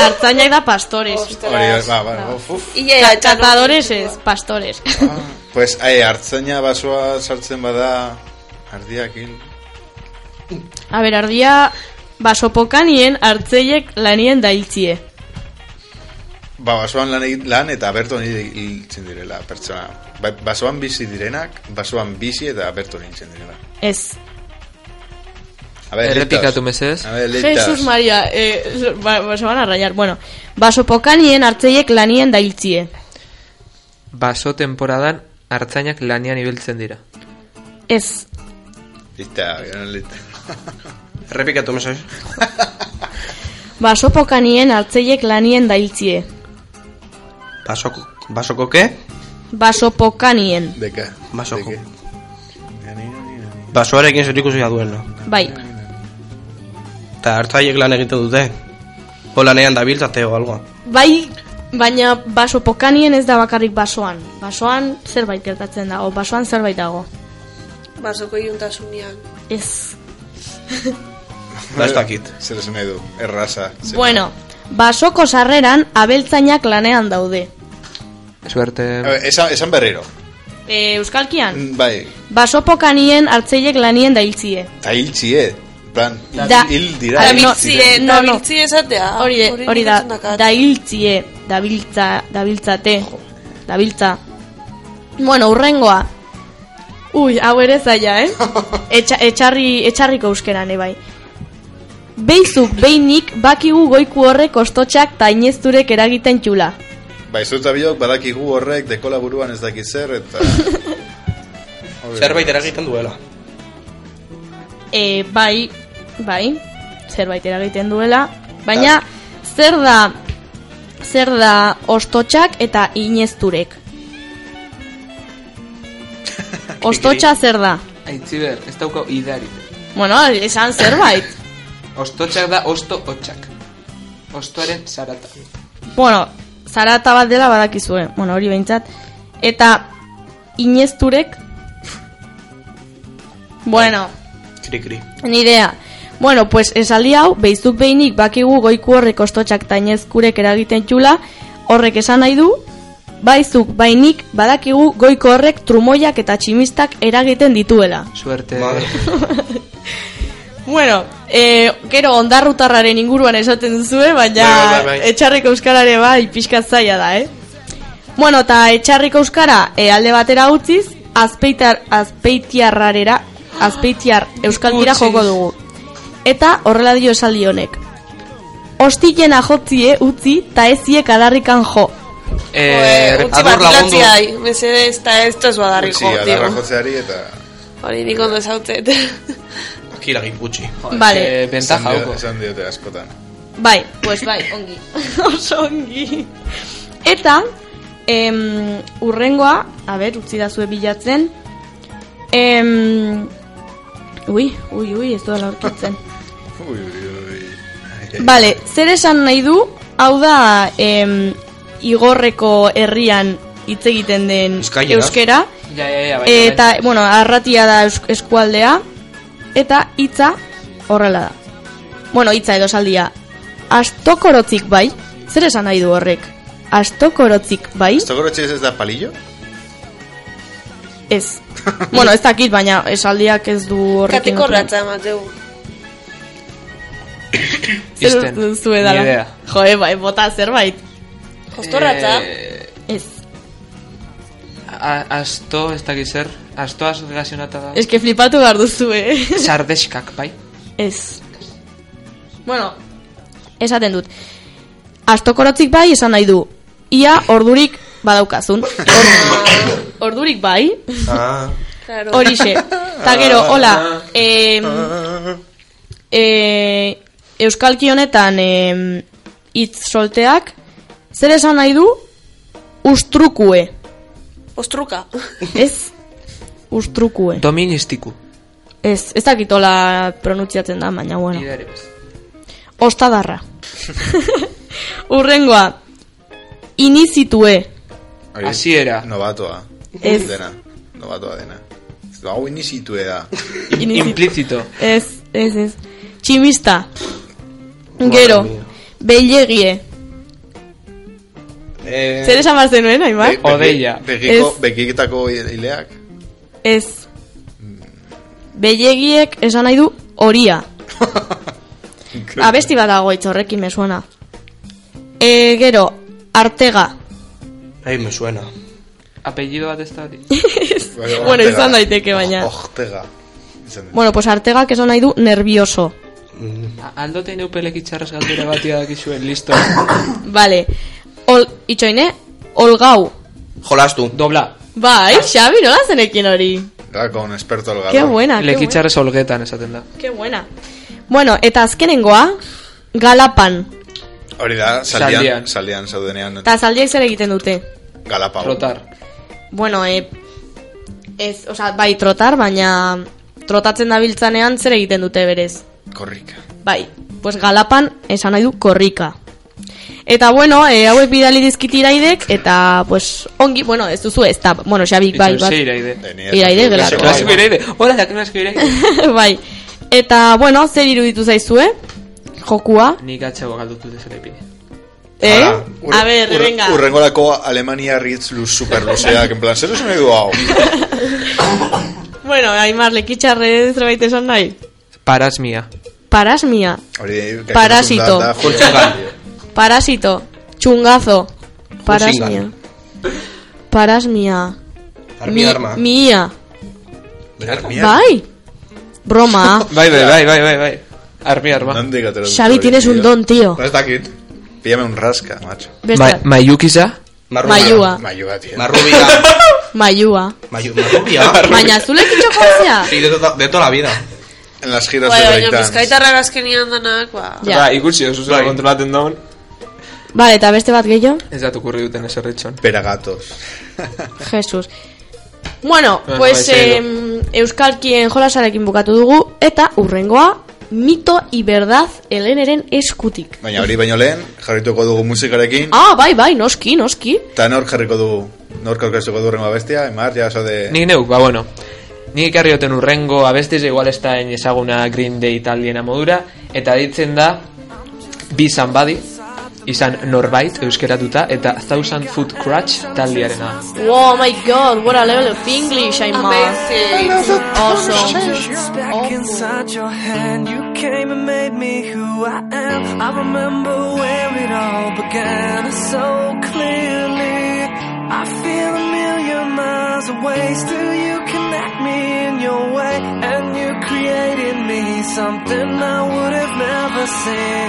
Artzainak da pastores.
Eh? Hori, ba, ba, uf, uf.
Ia,
Cazadores ez, pastores.
Ah, pues, ae, hartzaina basoa sartzen bada, ardiak hil.
A ber, ardia, baso pokanien hartzeiek lanien dailtzie.
Ba, basoan lan, egin- lan eta berton hil- hiltzen direla, pertsona. Ba, basoan bizi direnak, basoan bizi eta berton hiltzen direla.
Ez.
A ber,
Errepikatu
leitas.
mesedez.
A ber, leitas.
Jesus Maria, eh, ba- ba- se van a rayar. Bueno, baso pokanien hartzeiek lanien dailtzie.
Baso temporadan hartzainak lanean ibiltzen dira.
Ez,
Lista, gran lista.
Errepikatu, mesedez.
Basopokanien hartzeiek lanien dailtzie.
Basoko... Basoko, ke?
Basopokanien.
Deka.
Basoko.
deke.
Basoarekin zer ikusia duena.
Bai.
Eta hartzaiek lan egiten dute. O lanean dabiltzate o algo.
Bai, baina basopokanien ez da bakarrik basoan. Basoan zerbait gertatzen dago, basoan zerbait dago.
Basoko iuntasunean.
Ez.
Da ez dakit.
Zer esan nahi du, erraza. Zer-
Bueno, basoko sarreran abeltzainak lanean daude.
Suerte.
A ber, Esan, esan berriro.
E, Euskalkian,
Mm, Bai,
basopokanien hartzeiek lanien dailtzie.
eta hiltzie. En Plan,
Da-
hil dira.
Ara,
hil
no,
ziren.
Eh, no, no.
Dabiltzi esatea.
Hori, de- hori da,
ikusten dakat.
dailtzie, dabiltza, dabiltzate, dabiltza. Bueno, urrengoa. Ui, hau ere zaila, eh? Etxa, etxarri, etxarriko euskeran, eh, bai. Beizuk, beinik, bakigu goiku horrek ostotxak ta inezturek eragiten txula.
Bai, zut eta biok badakigu horrek dekola buruan ez dakit zer, eta... Hori.
Zerbait eragiten duela.
E, bai, bai, zerbait eragiten duela, baina zer da, zer da ostotxak eta inezturek? Ostotxa zer da?
Aitziber, ez dauka idari.
Bueno, esan zerbait.
Ostotxak da osto hotxak. Ostoaren zarata.
bueno, zarata bat dela badakizue, bueno, hori behintzat. Eta inezturek? Bueno,
Kri, kri.
Ni idea. Bueno, pues esaldi hau, beizuk behinik bakigu goiku horrek ostotxak tainezkurek eragiten txula, horrek esan nahi du, Baizuk, bainik, badakigu goiko horrek trumoiak eta tximistak eragiten dituela.
Suerte.
Bueno, e, gero ondarrutarraren inguruan esaten duzue, baina
Bai, bai, bai, bai.
etxarriko euskarare bai pixka zaila da, eh? Bueno, eta etxarriko euskara e, alde batera utziz, azpeitar, azpeitiarrarera, azpeitiar euskalkira
Utziz.
joko dugu. Eta horrela dio esaldi honek. Ostilena jotzie utzi, ta eziek adarrikan jo.
Eh,
Eh,
utzi bat
adur lagundu.
ilatzi dai, mesedez, eta ez toz badarri
Utzi,
jo,
adarra
tío.
jotzeari Bai, eta...
Hori nik ondo zautzet.
Akira giputxi.
Vale.
Eh, bentaja,
esan dio-
hauko.
Esan diote askotan.
Bai, pues bai, ongi. Oso ongi. Eta, em, urrengoa, a ber, utzi da zue bilatzen. Em, ui, ui, ui, ez duela aurkitzen.
Ui, ui, ui. Ai, ai.
Bale, zer esan nahi du, hau da, em, igorreko herrian hitz egiten den
Euskailera.
euskera.
Ja, ja, ja, bai, bai.
Eta, bueno, arratia da eus- eskualdea. Eta hitza horrela da. Bueno, hitza edo saldia. Astokorotzik bai. Zer esan nahi du horrek? Astokorotzik bai?
Estokorotxe ez da palillo?
Ez. bueno, ez dakit, baina esaldiak ez du horrekin.
Kateko
lotura.
ratza emateu.
Zer
Isten.
duzu
Ni
edala?
idea.
Joe, bai, bota zerbait.
Jostorratza.
Eh,
Ez.
a- asto, ez dakit zer. Astoaz relazionata da.
Ez que flipatu behar duzu, eh?
Sardeskak, bai.
Ez. Bueno, esaten dut. Astokorotzik bai esan nahi du. Ia ordurik badaukazun. Or- ordurik bai.
Ah.
Claro.
Horixe. Ta gero, hola. Eh, eh, Euskalki honetan eh, hitz solteak zer esan nahi du? Ustrukue.
Ostruka.
Ez? Ustrukue.
Doministiku.
Ez, ez dakitola pronuntziatzen da, baina bueno.
Idare bez.
Ostadarra. Urrengoa. Inizitue.
Hori,
Hasiera.
Novatoa.
Ez.
Dena. Novatoa dena. Hau inizitue da.
Inizi-
Implizito.
Ez, ez, ez. Tximista. Gero. Beilegie.
Eh,
Zer esan behar zenuen, Aimar?
Be- begi-
Odeia.
Begiko,
Ez.
begiketako hileak.
Ez. Beilegiek esan nahi du horia. Abesti bat dago hitz horrekin me suena. E, gero, artega.
Ai, me suena.
Apellido bat ez da hori.
Baina,
Bueno,
Ortega. Oh,
izan daiteke, baina.
Ortega. Izan daiteke. Mm.
Bueno, pues artegak esan nahi du nervioso.
A- Aldote neupelek itxarrez galdera batia dakizuen, listo.
Vale. Ol, itxoine, olgau.
Jolastu.
Dobla.
Bai, Xabi, nola zenekin hori?
Dago un experto al
Qué
galón.
buena, qué buena.
Lekitxarrez olgetan esaten da.
Qué buena. Bueno, eta azkenengoa, galapan.
Hori da,
Zaldian.
saldian, saldian zaudenean
Eta zaldiek zer egiten dute.
galapau.
Rotar.
Bueno, e, ez, oza, bai trotar, baina trotatzen dabiltzanean zer egiten dute berez.
Korrika.
Bai, pues galapan esan nahi du korrika. Eta bueno, e, hauek bidali dizkit iraidek, eta pues ongi, bueno, ez duzu ez da, bueno, Xabik bai,
Itxaron,
bat.
ze iraide.
Eh, ni ez
Iraide
dakit,
gelako.
klasiko
Klasiko iraide. Hola, da, klasiko iraide.
bai. Eta, bueno, zer iruditu zaizue? Jokua?
Nik atxago galdutu dezela ipini.
Eh?
Ah,
A ver,
ur-
venga.
Urrengorako Alemania Ritz luz super luzeak, en plan, zer esan nahi du hau?
Bueno, Aimar, lekitxarre zerbait esan nahi.
Parasmia.
Parasmia,
Hori, que
Parasito.
da- da-
parasito, chungazo, parasmia. Parasmia.
Armi arma.
mia.
Armiak.
Bai. Broma.
Bai, bai, bai, bai, bai, bai. Armi arma.
Nondik atera dut
Xabi,
hori,
tienes un
tío?
don, tío.
No, ez dakit. Píllame un rasca, macho.
Beste,
maiukiza?
Marrubia.
Maiua.
Maiua, tío.
Marrubia.
maiua.
Maiu- Marrubia.
Baina, zu lekitxoko zea?
Sí, de, to- de toda la vida.
En las giras
Bai,
de
baina
breakdance.
bizkaitarrak azkenian danak, ba...
Ja.
Ba, ikusi, oso zela kontrolaten daun.
Vale, eta beste bat gehiago?
Ez datu kurri duten eserritxon.
Peragatos.
Jesus. Bueno,
Bueno,
pues
bai,
eh,
serio.
Euskalkien jolasarekin bukatu dugu eta urrengoa mito y verdad Eleneren eskutik.
Baina hori baino lehen, jarrituko dugu musikarekin.
Ah, bai, bai, noski, noski.
Eta nork jarriko du, nork aurkeztuko du rengo bestia, emar, ja, oso de...
Nik neuk, ba, bueno. Nik ekarri duten urrengo abestiz igual ez da hain ezaguna Green Day taldiena modura. Eta ditzen da... Be somebody. izan norbait euskeratuta eta Thousand Foot Crutch taldearena.
Wow, my god, what a level of English I'm on.
Amazing.
Awesome.
Back inside your hand, you came and made me who I am. I remember where it all began so clearly. I feel a million miles away, still you connect me in your way, and you created me something I would have never seen.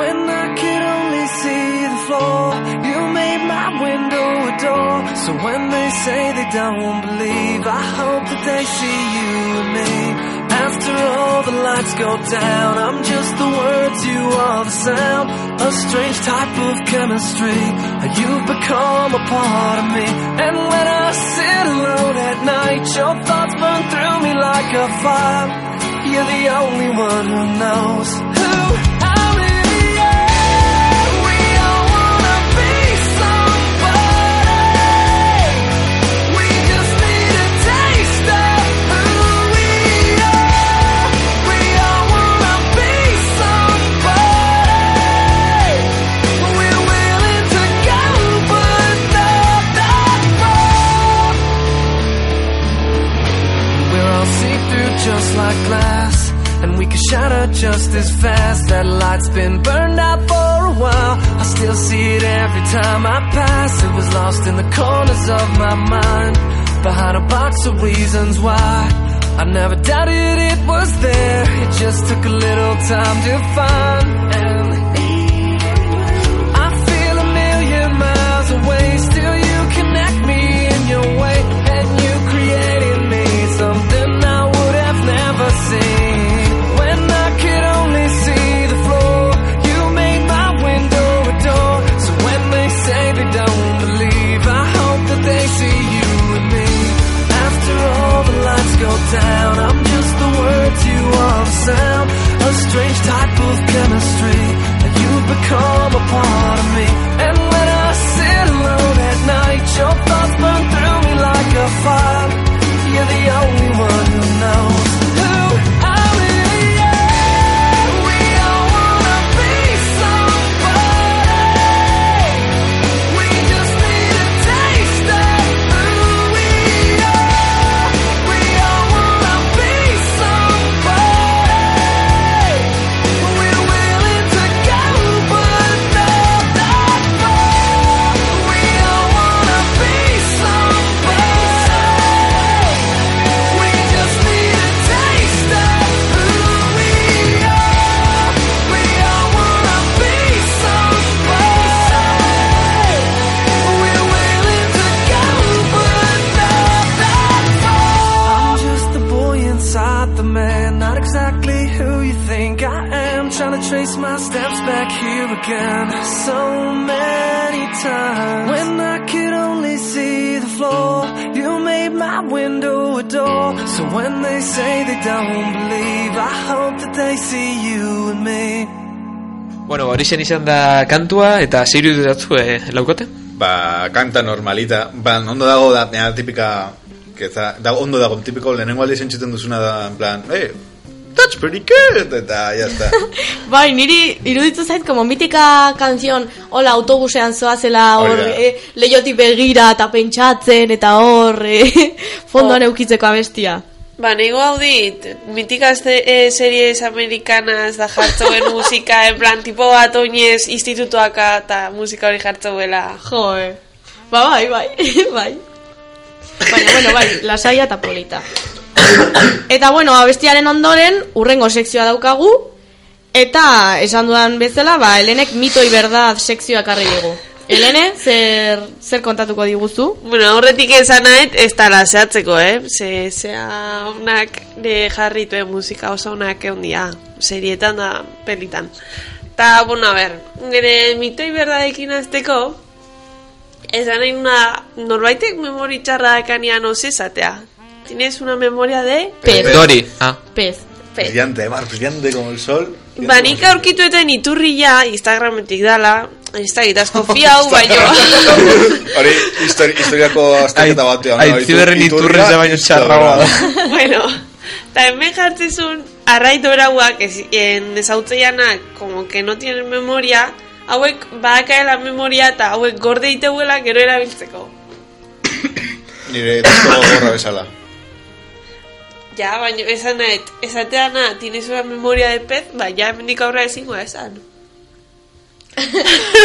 When I could only see the floor, you made my window a door. So when they say they don't believe, I hope that they see you and me. After all the lights go down, I'm just the words, you are the sound. A strange type of chemistry. You've become a part of me. And when I sit alone at night, your thoughts burn through me like a fire. You're the only one who knows who I really am. We all wanna be somebody. We just need a taste of who we are. We all wanna be somebody. We're willing to go, but not that far. We're all see through just like glass. And we can shatter just as fast. That light's been burned out for a while. I still see it every time I pass. It was lost in the corners of my mind. Behind a box of reasons why. I never doubted it was there. It just took a little time to find. And I feel a million miles away. Still, you connect me in your way, and you created me something I would have never seen. When I could only see the floor, you made my window a door. So when they say they don't believe, I hope that they see you and me. After all the lights go down, I'm just the words you are the sound. A strange type of chemistry. You've become a part of me. And when I sit alone at night, your thoughts burn through me like a fire. You're the only one who knows. who I really am. We all wanna be somebody. We just need a taste of who we are. We all wanna be somebody. We're willing to go, but not that far. We all wanna be somebody. We just need a taste of who we are. We all wanna be somebody. We're willing to go, but not that far. I'm just the boy inside the man, not exactly who you think I am. Trying to trace my steps back here again, so many times. When I could only see the floor, you made my window a door. So when they say they don't believe, I hope that they see you and me.
Bueno, hori zen izan da kantua eta zeiru dutatzu eh, laukote?
Ba, kanta normalita. Ba, ondo dago da, nea, tipika... Keza, da, ondo dago, tipiko lehenengo aldiz entzuten duzuna da, en plan, eh, that's pretty good, eta, ya está.
Bai, niri iruditu zait, como mitika kanzion, hola, autobusean zoazela,
Hori
hor,
da.
eh, leiotik begira eta pentsatzen, eta hor, eh, fondoan eukitzeko abestia.
Ba, nahi gaudit, mitikaz eh, series amerikanas da jartzoen musika, en plan, tipo bat oinez institutoaka eta musika hori jartzoela.
Jo, eh. Ba, bai, bai, bai. Baina, bueno, bai, lasaia eta polita. Eta, bueno, abestiaren ondoren, urrengo sekzioa daukagu, eta esan dudan bezala, ba, Elenek mitoi berdad sekzioa karri digu. Elene, zer, zer kontatuko diguzu?
Bueno, aurretik esan nahet, ez da laseatzeko, eh? Ze, zea onak de jarrituen musika oso onak egon dia, serietan da pelitan. Ta, bueno, a ber, nire mitoi berdadekin azteko, esan nahi una, norbaitek memori txarra dakanean osezatea. Tienes una memoria de...
Pez,
Dori, ah,
pez.
Pe-
brillante, mar, brillante como el sol.
Ba, nik aurkitu eta niturria Instagrametik dala, ez da, eta asko fiau, baino.
Hori, histori, historiako azterketa
Ai-
batean.
ai,
no? Itu-
ziberren
iturria,
iturriz baino txarragoa da.
bueno, eta hemen jartzezun, arraido erauak, ez, en, ezautzeanak, como que no tienen memoria, hauek badakaela memoria eta hauek gorde diteguela gero erabiltzeko.
Nire disko gorra bezala.
Ja, baina esan nahet, esatea na, tienes una memoria de pez, ba, ja hemendik aurra ezingo esan.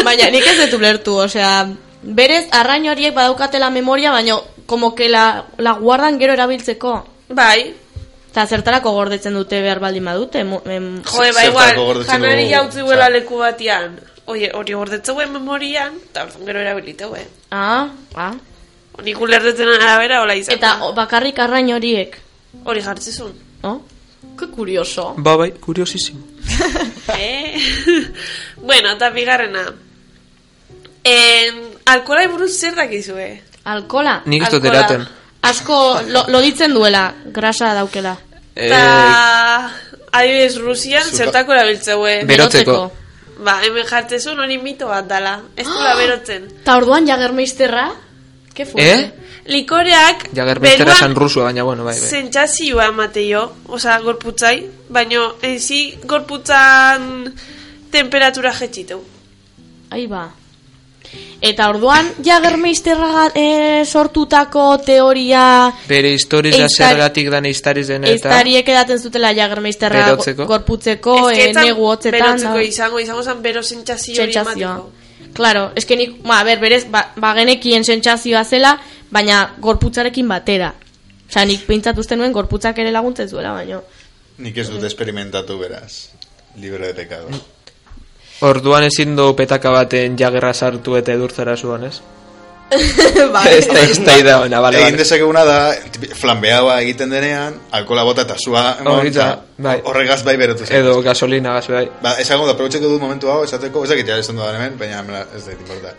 Baina nik ez dut ulertu, osea, berez arrain horiek badaukatela memoria, baina como que la, la guardan gero erabiltzeko.
Bai,
Eta zertarako gordetzen dute behar baldin badute. mo- em,
jode, ba,
Zertarako
igual,
gordetzen
janari
dugu,
jautzi guela
osea.
leku batean. Oie, hori gordetzeuen memorian, eta orduan gero erabiliteuen.
ah, ah.
Nik ulertzen arabera, hola izan.
Eta o, bakarrik arrain horiek.
hori jartzizun.
No? Ke kurioso.
Ba, bai, kuriosísimo.
Eh? bueno, eta bigarrena. En, alkola buruz zer eh? dakizue?
Alkola.
Nik ez dut
Alkohola.
eraten.
Asko lo, loditzen duela, grasa daukela.
Eh,
Eta, adibidez, Rusian
Zuka-
zertako erabiltzeue.
Be- Berotzeko.
Ba, hemen jartzezun hori mito bat dala. Ez dula berotzen.
Ta orduan jagermeisterra? Ke fuerte.
Eh?
Likoreak
Jagermistera
beruan
esan rusua, baina bueno, bai, bai.
sentsazioa emateio, osea, gorputzai, baino ezi gorputzan temperatura jetxitu.
Ahí ba. Eta orduan jagermeisterra ga- eh, sortutako teoria
Bere historiza
Eiztari-
zergatik dan eiztariz den eta...
Eztariek edaten zutela jagermeisterra go-
Berotzeko.
gorputzeko,
Ez que
eh,
etzan
negu hotzetan,
Berotzeko
da,
izango, izango zen bero sentsazio hori
sentsazioa.
emateko.
Claro, eske nik, ba, a ber, berez, ba, ba genekien sentsazioa zela, baina gorputzarekin batera. Osea, nik pentsatu uste nuen gorputzak ere laguntzen zuela, baino.
Nik ez dut esperimentatu beraz. Libre de pecado.
Orduan ezin du petaka baten jagerra sartu eta edurtzara zuan, ez?
bai.
Ez da, ez da, ida ona, bale,
Egin
bale.
dezakeguna da, flambeaua egiten denean, alkola bota eta sua emon,
Hori da,
eta
bai.
horregaz bai berotu zen.
Edo gasolina, gaz, bai.
Ba, esango da, probetxeko dut momentu hau, esateko, ez dakit ja esan dudan hemen, baina mela, ez da, importa.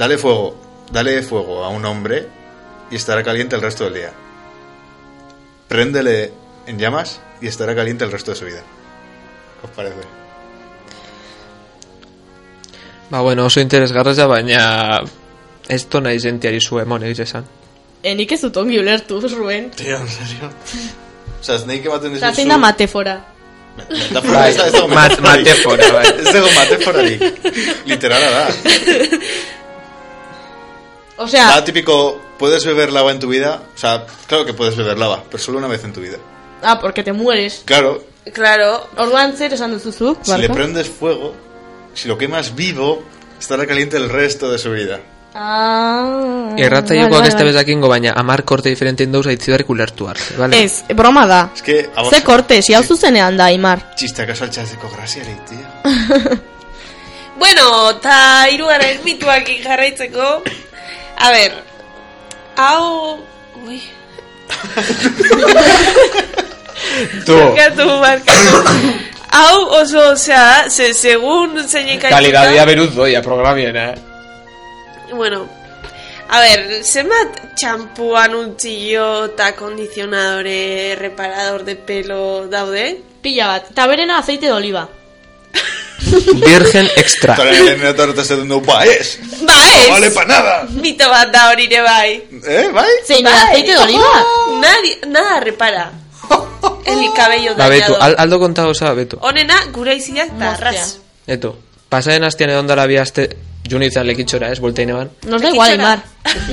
Dale fuego, dale fuego a un hombre y estará caliente el resto del día. Préndele en llamas y estará caliente el resto de su vida. ¿Qué os parece?
Ba, bueno, oso interesgarreza, baina... Ez tona izentiari zu emon, egiz esan.
E, nik ez dut ongi ulertu, Ruben.
Tío, en serio. O sea, Snake ematen dizu
Eta zein da matefora.
Metafora, ez da- ez dago
Mat-
metaforarik.
matefora, bai.
Ez dago metaforarik. Literala da.
Osea,
Nada típico, puedes beber lava en tu vida. O sea, claro que puedes beber lava, pero solo una vez en tu vida.
ah, porque te mueres.
Claro,
Claro,
Orduan zer esan duzuzu,
Si le prendes fuego, si lo quemas vivo, estará caliente el resto de su vida.
Ah,
Erratza
vale,
jokoak
vale,
ez da
vale.
bezakingo, baina amar korte diferenten dauz aitzidarrik ulertu hartze, bale?
Ez, broma da.
Es que a vos
Ze korte, si hau zuzenean da, Imar.
chiste acaso al chaseco gracias, tío.
Bueno, eta hirugarren mituak jarraitzeko. A ber, hau... Ui,
Tu,
barkatu, barkatu. hau oso, osea, ze, segun zeinen
Kalidadea beruz doia programien, eh?
Bueno, a ber, zenbat txampu anuntzio eta kondizionadore, reparador de pelo daude?
Pila bat. Eta berena aceite de oliva.
virgen extra.
Ahora el Terminator está haciendo es.
Ba
No
ez!
vale para nada.
Mito bat da hori ere bai.
¿Eh, bye?
Zein da, aceite de oliva?
Nadie, nada repara. El cabello
Ba, betu,
dañado. Oh,
al, aldo konta goza, betu.
Onena, gure iziak eta
Moztea.
arraz.
Eto, pasaden hastian egon dara bi aste junitzen lekitxora, ez, voltein eban.
Nos da igual, Imar.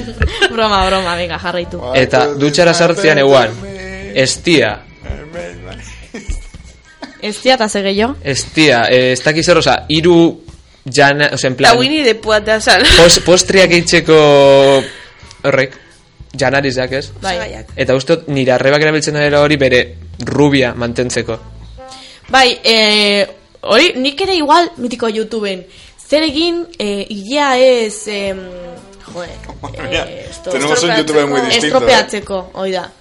broma, broma, venga, jarraitu.
Ba,
Eta dutxara sartzean eguan, estia,
Ez tia eta ze gehiago?
estia, eh, ez dakiz erroza, iru jana, ozen, en
Eta
plan,
Winnie de Puat da zan.
pos, postriak eitzeko horrek, janarizak, ez?
Bai.
Eta uste dut, nire arrebak erabiltzen dela hori bere rubia mantentzeko.
Bai, eh, hori, nik ere igual mitiko YouTubeen. Zer egin, eh, ilea ez, eh, joder, eh, esto-
Tenemos un youtuber muy distinto. ¿eh?
estropeatzeko, hoi da.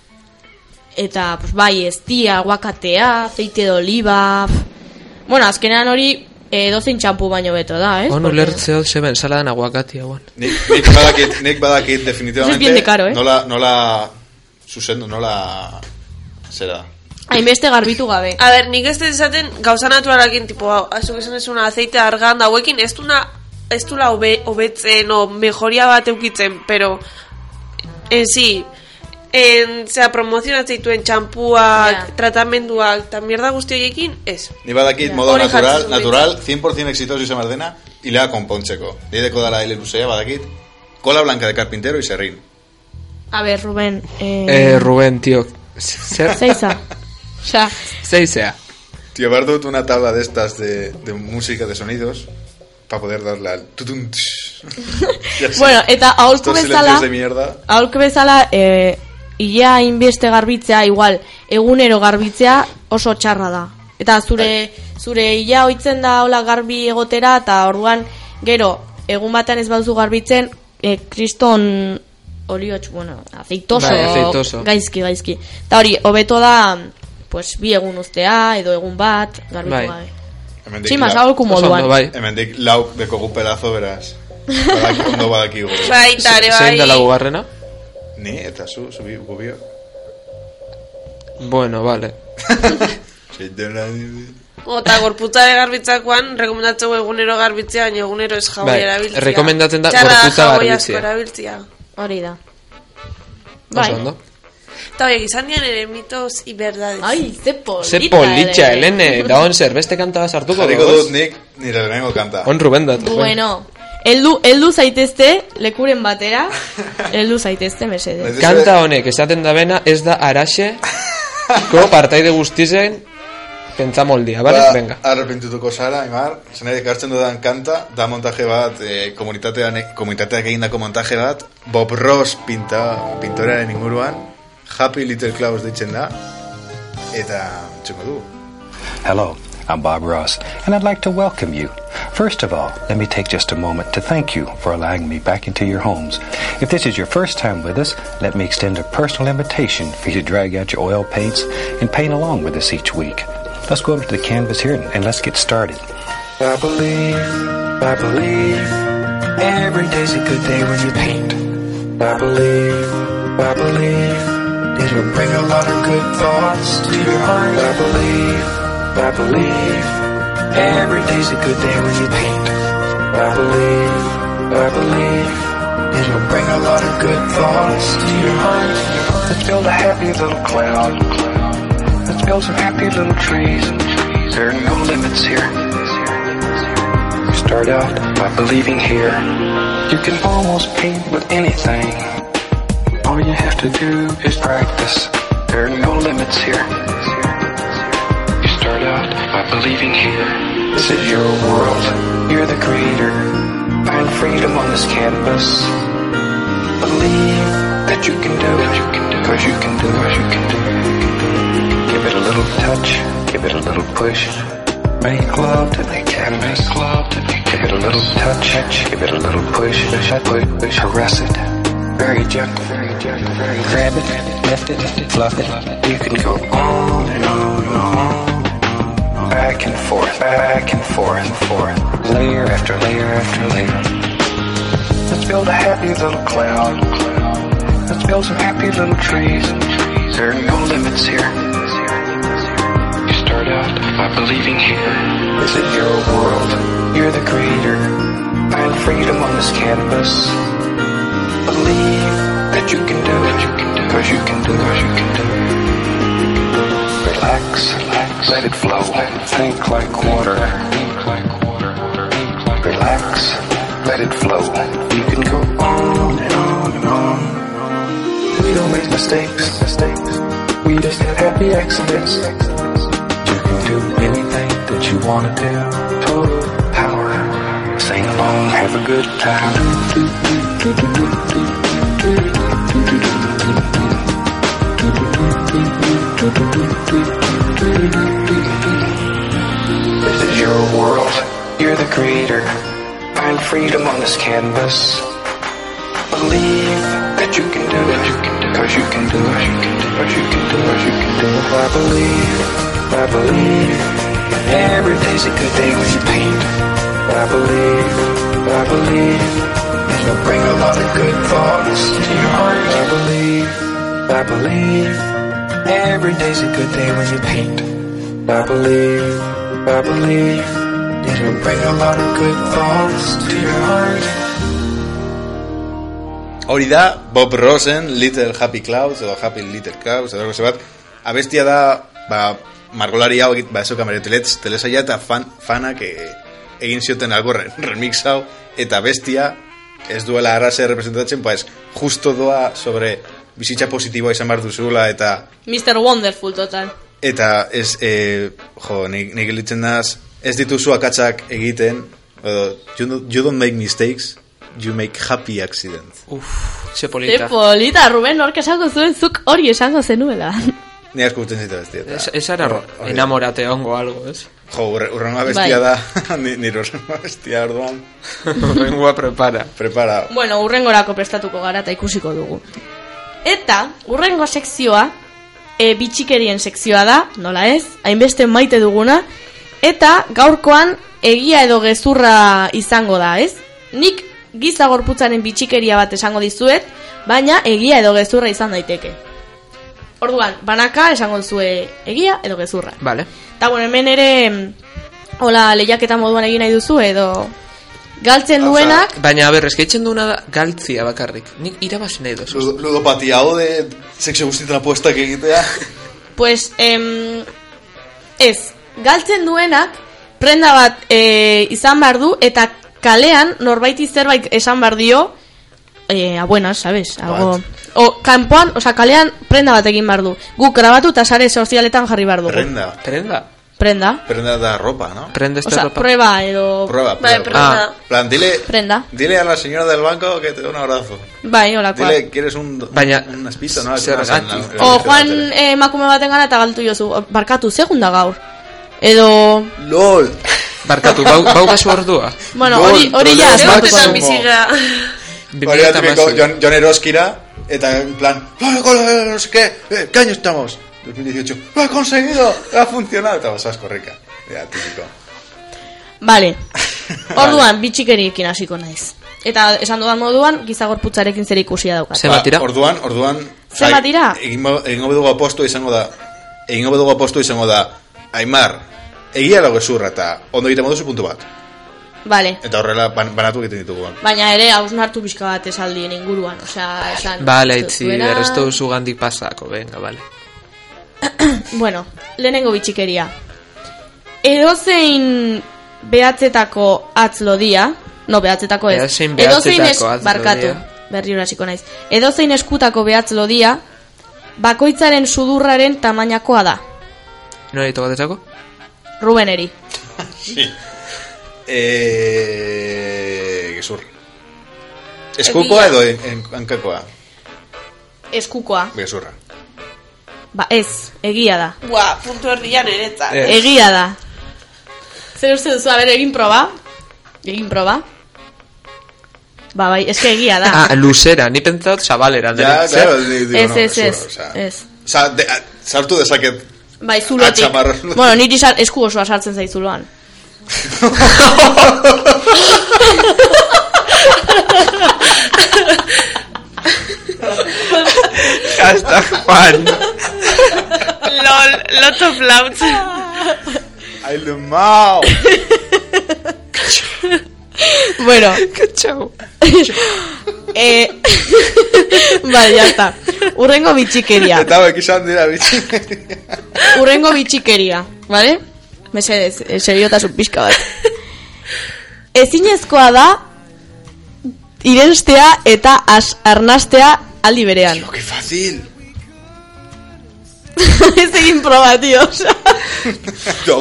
Eta, pues, bai, eztia, guakatea, aceite de oliva... pf. Bueno, azkenean hori eh, dozein txampu baino beto da, ez?
Hon
Porque-
ulertzeo zeben saladan aguakati hauan.
Nick, Nick Badakit, Nick Badakit definitivamente.
Eso es bien de caro, ¿eh?
No la, no la, Susendo, no la, será.
Hainbeste garbitu gabe.
A ber, nik ez dut esaten gauza naturalekin, tipo, "Ah, hau, azuk esan ezuna aceite argan da hauekin, ez duna, ez dula hobe- hobetzen o mejoria bat eukitzen, pero, en sí, en, zera, promozionatzen dituen txampuak,
Ja.
tratamenduak, eta mierda guzti horiekin, ez.
Nick Badakit, modo
Hori jartzen
natural,
dut.
natural, 100% exitoso y se mardena. hilea konpontzeko. Dideko dala hile luzea badakit. Kola blanca de carpintero y serrín.
A ber, Ruben, eh,
Eh, Rubén, tío. Zer?
zeiza. Osea,
Zeizea.
Tío, haber dado una tabla de estas de, de música de sonidos para poder darle al tutun, tsh. Ya sé.
bueno, eta aholku
Estos silencios
bezala,
de mierda.
aholku bezala, eh, ia inbeste garbitzea, igual, egunero garbitzea oso txarra da. Eta zure,
Bai.
zure ia oitzen da hola garbi egotera, eta orduan, gero, egun batean ez baduzu garbitzen, eh, kriston oliotx, bueno, aceitoso,
Bai, aceitoso.
gaizki, gaizki. Eta hori, hobeto da, pues, bi egun uztea, edo egun bat, garbitu
Bai.
gabe.
Hemendik
Sí, mas
lau-
aholku
Oso
moduan.
ondo, bai.
Hemendik lau dekogu pelazo beraz. Badaki, ondo badakigu.
Baita ere
Zein da
bai.
laugarrena?
Ni eta zu, zubi, gubio.
Bueno, vale.
Ota gorputza de garbitzakoan, rekomendatzen dugu egunero garbitzea, baina egunero ez jaboia
Bai,
erabiltzea.
rekomendatzen da
Txarra
gorputza
jaboia asko
garbitzea.
erabiltzea.
Hori da. Bai.
Oso ondo.
Eta horiek izan dian ere mitos y verdades.
Ai, ze polita.
Ze politxa,
ere.
Helene. Da on zer, beste kanta bat sartuko
Jarriko
dugu,
dut
ez?
nik nire lehenengo kanta.
On Rubén datu.
Bueno,
Bai.
eldu, eldu zaitezte, lekuren batera, eldu zaitezte, mesedez.
Nahiz
Kanta honek esaten da bena ez da araxe ko partaide guztizen pentsamoldia, bale?
Ba,
Venga.
Arrepentituko zara, Aimar, zen ere ekartzen dudan kanta, da montaje bat, eh, komunitatean, komunitateak egindako montaje bat, Bob Ross pinta, pintorearen inguruan, Happy Little Claus deitzen da, eta txuko du.
Hello, I'm Bob Ross, and I'd like to welcome you. First of all, let me take just a moment to thank you for allowing me back into your homes. If this is your first time with us, let me extend a personal invitation for you to drag out your oil paints and paint along with us each week. Let's go up to the canvas here and, and let's get started.
I believe, I believe, every day's a good day when you paint. I believe, I believe, it'll bring a lot of good thoughts to your mind. I believe, I believe, every day's a good day when you paint. I believe, I believe, it'll bring a lot of good thoughts to your mind. Let's build a happy little cloud. Let's build some happy little trees. There are no limits here. You start out by believing here. You can almost paint with anything. All you have to do is practice. There are no limits here. You start out by believing here. This is your world. You're the creator. Find freedom on this canvas. Believe that you can do it. Cause you can do it. You can do it. Give it a little touch. Give it a little push. Make love to the canvas. Make love to the Give it a little touch. Give it a little push. Push. Push. push. Caress it. Very gentle. Very gentle. Very grab it. Lift it. Fluff it. You can go on and on and on. Back and forth. Back and forth. And forth. Layer after layer after layer. Let's build a happy little cloud. Let's build some happy little trees. There are no limits here. You start out by believing here. This is your world. You're the creator. Find freedom on this canvas. Believe that you can do it. Cause you can do it. Cause you can do it. Relax, relax, let it flow. Think like water. Think like water. Relax, let it flow. You can go on and on and on. We don't make mistakes, mistakes. We just have happy accidents. You can do anything that you want to do. Total power. Sing along, have a good time. This is your world. You're the creator. Find freedom on this canvas. Believe that you can do it. Cause you can do it. Cause you can do it. You can do it. I believe. I believe. Every day's a good day when you paint. I believe. I believe. It'll bring a lot of good thoughts to your heart. I believe. I believe. Every day's a good day when you paint. I believe, I believe it'll bring a lot of good thoughts to your heart.
Hori da, Bob Rosen, Little Happy Clouds, edo Happy Little Clouds, edo gose bat, abestia da, ba, margolari hau, egit- ba, eso kameretelez, telesaia eta fan, fanak, e, egin zioten alborren remix hau, eta bestia ez duela arrase representatzen, pues, justo doa sobre bizitza positiboa izan behar duzula, eta
Mr. Wonderful total.
Eta ez, e, jo, nik, nik elitzen naz, ez dituzu akatsak egiten, edo, you, don't- you don't make mistakes, you make happy accidents.
Ze
Ze
polita.
polita, Ruben, nork esango zuen zuk hori esango zenuela.
Ni asko gutzen zaitu bestia. eta-
Ez, ez ara
Hor- hori-
enamorate ongo algo, ez?
Ba- Jo, urre- urrengoa bestia
Bai.
da, ni- nire urrengoa bestia, orduan,
Horrengua prepara.
prepara.
bueno, urrengorako prestatuko gara eta ikusiko dugu. Eta, urrengo sekzioa, e, bitxikerien sekzioa da, nola ez, hainbeste maite duguna, eta gaurkoan egia edo gezurra izango da, ez? Nik giza gorputzaren bitxikeria bat esango dizuet, baina egia edo gezurra izan daiteke. Orduan, banaka esango duzue egia edo gezurra.
Vale.
Eta bueno, hemen ere mm, Hola, lehiaketa moduan egin nahi duzu edo Galtzen duenak
Baina, aber, eskaitzen duena da galtzia bakarrik. Nik irabazi nahi dozu.
Ludo- Ludopatia hode, sexo guztietan apuestak egitea.
Pues, em, ez Galtzen duenak Prenda bat eh, izan behar du Eta kalean norbaiti zerbait esan behar dio eh, a buenas, sabes? Algo... O, kanpoan, o sea, kalean prenda bat egin behar du Gu grabatu eta sare sozialetan jarri behar dugu
Prenda.
Prenda.
Prenda
Prenda da ropa, ¿no?
Prenda ez da
Osa,
ropa.
prueba edo
Prueba, prueba.
Bai, prenda.
Ah.
Plan, dile,
Prenda
dile a la señora del banco que te dé un abrazo.
Bai, holakoa
Dile, ¿quieres un,
Baina,
un espito? No,
zer
No,
gati.
no, no,
O
no,
Juan
no, no.
eh, emakume baten gana eta galtu jozu, barkatu, segunda gaur. Edo,
LOL!
Barkatu, bau, bau kasu ordua.
bueno,
Gol,
hori, hori ja,
gol,
asmatuko
gol, gol.
Egotetan
dugu.
bizigea.
Hori da tipiko
2008.
Jon, Jon Eroskira, eta en plan, "Gol, gol, gol, no sé qué, eh, ¿qué año estamos? 2018, lo ha conseguido, ha funcionado, eta vas correca. Ya, típico.
Vale. Orduan, bitxikeriekin hasiko naiz. Eta esan dudan moduan, gizagorputzarekin zer ikusia daukat. Ba-
Zer bat dira?
Ba, orduan, orduan...
Zer bat dira?
Egingo egingo dugu apostu izango da, egingo dugu apostu izango da, Aimar, egia dago gezurra, eta ondo egiten moduzu puntu bat.
Vale.
Eta horrela ban, banatu egiten ditugu. ba.
Baina ere, hausnartu pixka bat esaldien inguruan, osea, esan...
Bale, itzi,
zuena-
errestu duzu gandik pasako, venga, bale.
Bueno, lehenengo bitxikeria. Edozein behatzetako atzlodia, no behatzetako ez.
Edozein behatzetako atzlodia.
barkatu, berri hasiko naiz. Edozein eskutako behatzlodia, bakoitzaren sudurraren tamainakoa da.
Nora ditu batetako?
Rubeneri.
Sí. Eh, gezurra. Eskukoa
Egia.
edo en- en- hankakoa,
Eskukoa.
gezurra.
Ba ez, egia da.
Bua, puntu erdian eretzat.
Eh.
Ez.
Egia da. Zer uste duzu, a ber, egin proba. Egin proba. Ba bai, eske egia da.
Ah, luzera, ni pentsat zabalera.
Ja,
nire.
claro, di- digo,
Ez,
no,
ez,
gezurra,
ez,
osea.
ez.
Sa, de, a, sartu dezaket.
Bai, zulotik.
Atxamarra.
Bueno, niri sar, esku osoa sartzen zaizuloan.
Hasta Juan.
Lol, lot of lauts.
Ailu mau!
Bueno. eh, bai, ya está. Urrengo bitxikeria.
Eta hauek izan dira bitxi.
Urrengo bitxikeria, vale? Mesedez, eh, seriotasun pixka bat. Ezinezkoa da irenstea eta as, arnastea aldi berean.
Lo que fácil.
Ez egin proba, tio. osea.
Jo.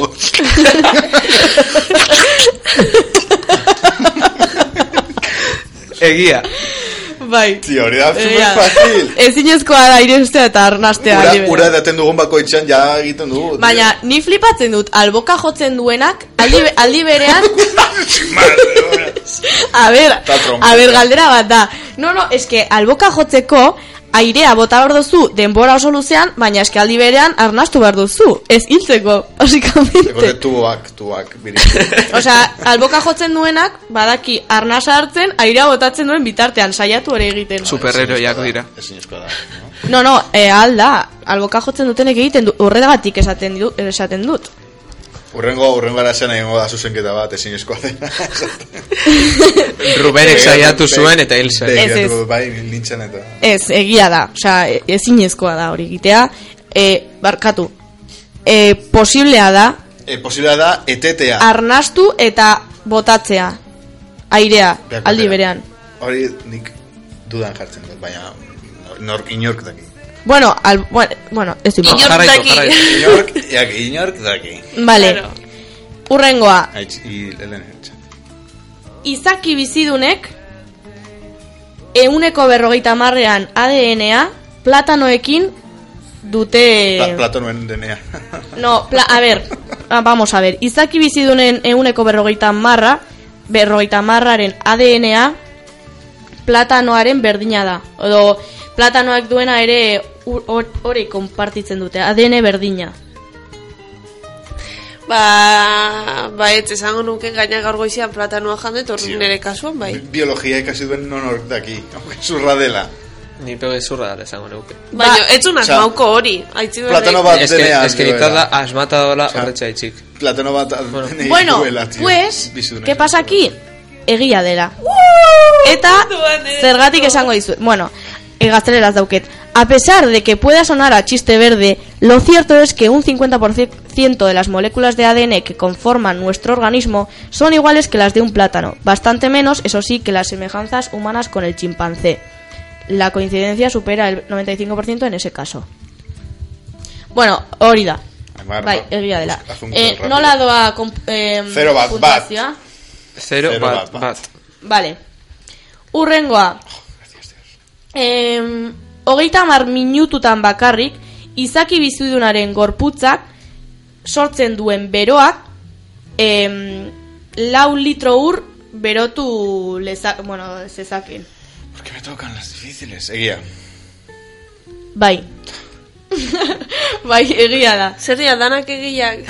Egia.
bai.
Tio, hori da
Egia.
super fácil.
Ezinezkoa da irenstea eta arnastea
Ura,
aldi berean.
ura daten dugun bakoitzan ja egiten dugu.
Baina, ni flipatzen dut, alboka jotzen duenak, aldi, aldi berean, a ber,
Eta trompa.
a ber, galdera bat da. No, no, eske, alboka jotzeko, airea bota behar duzu, denbora oso luzean, baina eske aldi berean, arnastu behar duzu. Ez hiltzeko,
Ekote
basikamente.
tuak, tuak, biri.
Osea, alboka jotzen duenak, badaki, arnasa hartzen, airea botatzen duen bitartean, saiatu ere egiten.
Superheroiak dira.
Ezinezkoa da. no?
No, no, e, alda, alboka jotzen dutenek egiten du, horregatik esaten, du, esaten dut.
Urrengo, urrengo arazen egingo da zuzenketa bat, ezinezkoa dena.
Rubenek saiatu zuen eta hil zen.
Ez, ez.
Begiratuko dut, Bai, nintzen eta...
Ez, egia da, osea, e- ezinezkoa da hori egitea. E, barkatu. E, posiblea da
E, posiblea da, etetea.
arnastu eta botatzea, airea,
Berak
aldi
batera.
berean.
Hori nik dudan jartzen dut, baina nork, inork daki.
Bueno, al, bueno, bueno, ez dut.
Inork
jarraitu,
daki.
jarraitu.
Inork, jak, inork daki.
Vale.
Claro.
Urrengoa,
Aitz, hil, helen etxa.
izaki bizidunek euneko berrogeita marrean ADN-a platanoekin dute...
Pla, plato nuen denea.
No, pla, a ver, ah, vamos a ver. Izaki bizidunen euneko berrogeita marra, berrogeita marraren ADN-a platanoaren berdina da. Odo, platanoak duena ere ur- hor- hori konpartitzen dute, ADN E berdina.
Ba, ba ez, esango nuke gaina gaur goizian platanoa jande, torri nire kasuan, bai.
Biologia ikasi duen non hork daki. Aunque zurra dela.
Ni pego izurra dela esango neuke.
Ba-
Baina, ez zun
Osea,
asmauko hori, haitzi berrek.
Platano bat
Eske,
denean
eske
duela.
nitada asmata dola
Osea,
horretxe haitzik.
Platano bat denean
Bueno,
duela, tío.
pues,
Biziduna
¿qué
izan
pasa
duela.
aquí? Egia dela. Eta, zergatik esango dizu. Bueno, eh, gazteleraz dauket. A pesar de que pueda sonar a chiste verde, lo cierto es que un 50% de las moléculas de ADN que conforman nuestro organismo son iguales que las de un plátano, bastante menos, eso sí, que las semejanzas humanas con el chimpancé. La coincidencia supera el 95% en ese caso. Bueno, hori da.
Hamar,
Bai,
ba-
egia dela.
asunto
Eh,
rápido.
nola doa kon- em,
Zero bat, bat.
puntuazioa?
Zero,
Zero
bat,
bat,
bat.
Vale. Urrengoa.
Oh,
Em, hogeita mar minututan bakarrik, izaki bizidunaren gorputzak sortzen duen beroak em, lau litro ur berotu leza, bueno, zezaken.
¿Por qué me tocan las difíciles? Eh, Egia.
Bai. bai, egia da.
Zerria, danak egiak.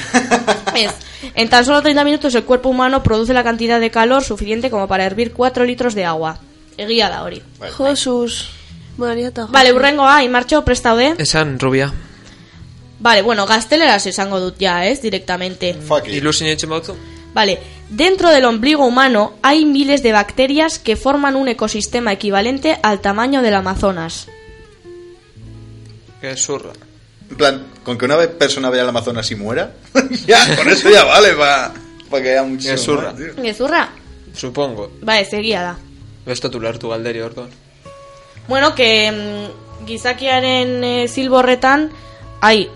Es, en tan solo 30 minutos el cuerpo humano produce la cantidad de calor suficiente como para hervir 4 litros de agua. Egia da hori.
Bai.
Josus, Maria eta
Vale, ah, urrengoa, imartxo prestaude.
Esan, rubia.
Vale, bueno, gazteleras esango dut ya, ¿es? Directamente.
Fuck it.
Ilusin eitzen bautzu?
Vale, dentro del ombligo humano hay miles de bacterias que forman un ecosistema equivalente al tamaño del Amazonas.
Gezurra.
En plan, con que una vez persona vea al Amazonas y muera, ya, con eso ya vale para que haya mucho.
Gezurra.
más, tío.
Gezurra?
Supongo.
Bai, egia da.
Bestatu lartu galderi orduan.
Bueno, que mm, gizakiaren eh, zilborretan hay,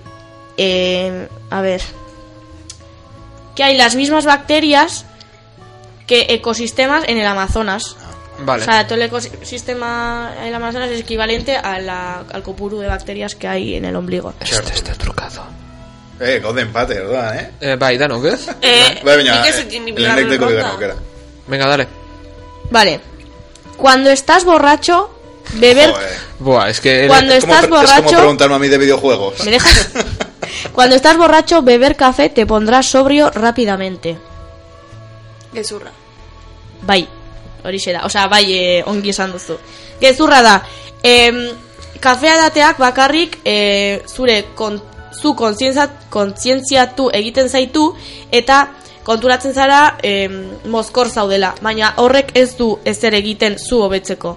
eh, a ver, que hay las mismas bacterias que ecosistemas en el Amazonas.
Vale.
O sea, todo el ecosistema en el Amazonas es equivalente a la- al copuru de bacterias que hay en el ombligo.
Esto
está trukado.
Eh, gaude empate, ¿verdad, eh?
Eh, bai, danok, ez?
Eh,
Bai, baina,
nik
eh,
ez ekin ni bigarren
elekteko
ronda.
bigarren aukera.
Venga, dale.
Vale. Cuando estás borracho, beber...
Joder.
Boa, es que...
Cuando
Es como
estás
pre- Es como
borracho...
preguntarme a mí de videojuegos.
¿Me dejas? Cuando estás borracho, beber café te pondrá sobrio rápidamente.
Gezurra.
Bai, horixe da. Osea, bai, eh, ongi esan duzu. Gezurra da. Em, kafea dateak bakarrik eh, zure kon, zu kontzientzia- kontzientziatu egiten zaitu eta konturatzen zara em, mozkor zaudela, baina horrek ez du ezer egiten zu hobetzeko.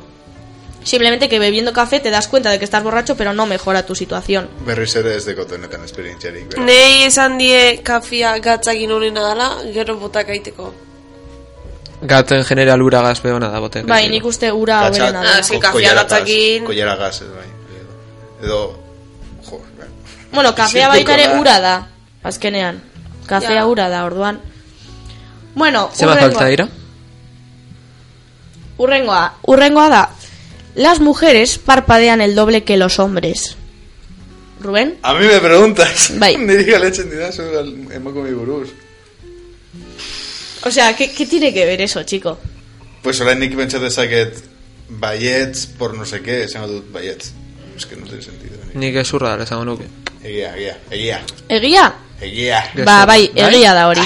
Simplemente que bebiendo café te das cuenta de que estás borracho, pero no mejora tu situación.
Berriz ere ez dekote honetan esperientziarik. bera.
Nei esan die kafia gatzakin honena dela, gero botak aiteko.
Gaten general ura gazpe hona da boten.
Bai, nik uste ura
Gatza-
hoberena
Ah,
dela.
sí.
ko-
kafea
koilara gas,
gatzakin.
Koilara gas, ez bai. Edo, jo, bai.
Bueno, kafea baita ere
Isilduko da.
ura da, azkenean. Kafea
Ja.
ura da, orduan. Bueno,
Zema falta dira?
urrengoa, urrengoa da. Las mujeres parpadean el doble que los hombres. Rubén?
A mí me preguntas.
Bai.
Niri galetzen didazu al- emoko mi buruz.
O sea, ¿qué, qué tiene que ver eso, chico?
Pues oraindik pentsa dezaket baietz por no sé qué, esango dut baietz. Es que no tiene sentido. ni-
Nik gezurra dela esango nuke.
Egia, egia, egia.
Egia?
Egia.
Ba,
Gezurra,
bai,
bai?
egia da hori.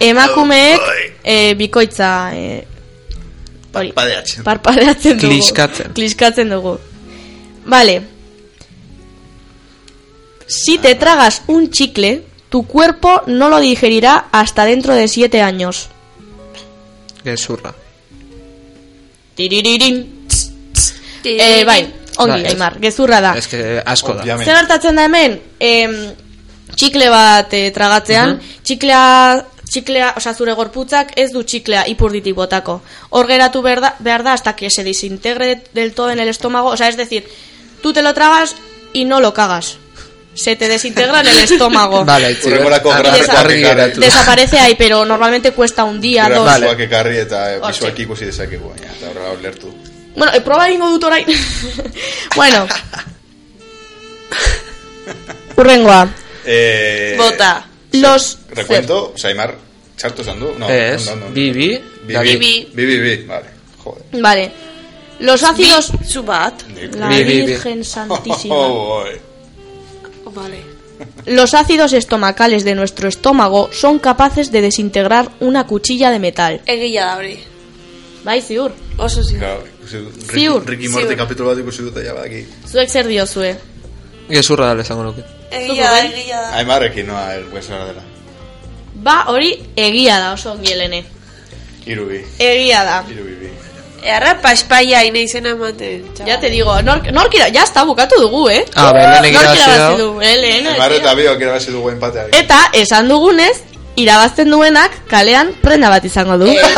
Emakumeek
Bai.
eh, bikoitza eh, hori,
Parpadeatzen.
parpadeatzen dugu.
Kliskatzen.
Kliskatzen dugu. Vale. Si te tragas un chicle, tu cuerpo no lo digerirá hasta dentro de 7 años.
Gezurra.
Tiriririn. Tss, tss. Eh, bai, ongi,
Bai.
Aimar, gezurra da.
Ez que asko da.
Obviamente.
Zer hartatzen da hemen? Em, txikle bat eh, tragatzean,
Mhm.
txiklea Txiklea, osa zure gorputzak ez du txiklea ipurditik botako. Hor geratu behar da, behar da hasta que se desintegre del todo en el estómago. O sea, es decir, tú te lo tragas y no lo cagas. Se te desintegra en el estómago.
Bale, itxi.
Hurrengorako
Argi-
grafoak
argi
ekarri.
geratu.
Desaparece ahí, pero normalmente cuesta un día, dos.
Grafoak Bai, ekarri eta eh,
Hortxe.
pisuak ikusi dezakegu, baina, eta horrela ulertu.
Bueno, e, proba egingo dut orain. bueno. Urrengoa.
Eh,
Bota.
Los...
Recuento, Saimar, txartu esan du? No,
Ez,
no, no, no.
bi, bi,
Bi,
da
bi,
bi.
bi, bi, bi, vale, joder.
Vale. Los ácidos...
Zu bat.
La
Bi, bi, bi.
Virgen Santísima.
Oh, boy.
Vale.
Los ácidos estomacales de nuestro estómago son capaces de desintegrar una cuchilla de metal.
Egia da hori.
Bai, ziur.
Oso zio.
Claro, ikusi dut, Ricky-
Ziur,
Ricky Morty
ziur.
kapitulu bat ikusi dut ja badaki.
Zuek zer diozue.
Gezurra dala esango nuke.
Egia da, egia da.
Aimarrekin noa erguezara dela.
Ba, hori egia da oso ongi helene.
Hiru bi,
Egia da.
hiru bi, bi.
Earra paspaia ina izena ematen.
Ja te digo, nork, norkira, ja está bukatu dugu, eh?
Ah, bai, lehenek
Nork
irabazi
irabazi
dau.
du, eh, lehen,
Aimar
eh?
eta biok irabazi dugu empateari.
Eta esan dugunez, irabazten duenak kalean prenda bat izango du.
Eh.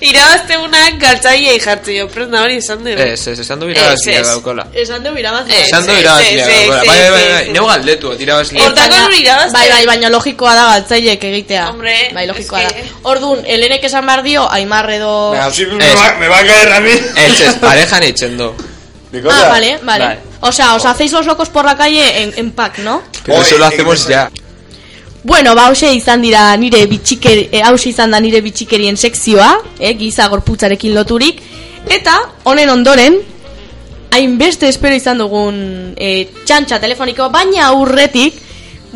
Irabaztegunak galtzailei jartzen jo, prenda hori esan dugu.
Ez, ez, esan du irabazia
Ez, ez.
daukola.
Esan du irabazten.
Ez,
Esan du
ez,
irabazia
ez, ez,
daukola.
ez,
Bai, bai,
ez,
bai,
ez.
neu galdetu, irabazia.
Hortako
Baina-
non irabazten?
Bai, bai, baina logikoa da galtzaileek egitea.
Hombre,
bai, logikoa
eske-
da. Orduan, Elenek esan bar dio, Aimar edo...
Baina,
Sí, me
ez,
va- me va a caer a mí.
Ez, ez, parejan eitzen du.
Nicola.
Ah, vale, vale.
Vale.
O sea, os hacéis los locos por la calle en, en pack, ¿no?
Pero
Oye,
eso lo
egiten
hacemos
zait.
ya.
Bueno, ba, hause izan dira nire bitxikeri, eh, hause izan da nire bitxikerien sekzioa, eh, giza gorputzarekin loturik, eta honen ondoren, hainbeste espero izan dugun eh, txantxa telefoniko, baina aurretik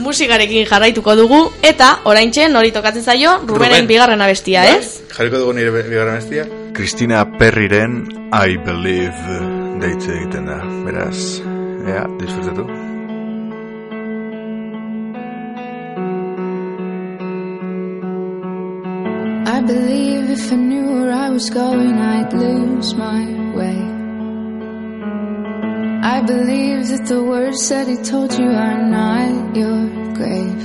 musikarekin jarraituko dugu, eta oraintxe nori tokatzen zaio, Rubenen
Ruben.
bigarren abestia, eh? ez?
Jarriko dugu nire bigarren bestia.
Christina Perriren I Believe deitze egiten da. Beraz, ea, disfrutatu.
I believe if I knew where I was going, I'd lose my way. I believe that the words that he told you are not your grave.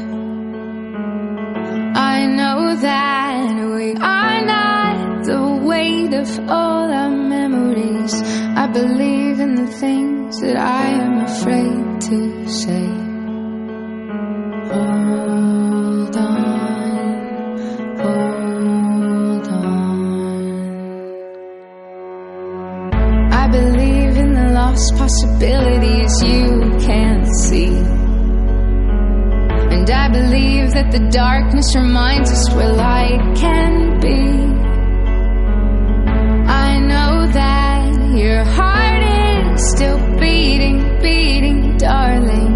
I know that we are not the weight of all our memories. I believe in the things that I am afraid to say. Hold on. Hold on. I believe in the lost possibilities you can't see. And I believe that the darkness reminds us where light can be. I know that your heart is still beating, beating, darling.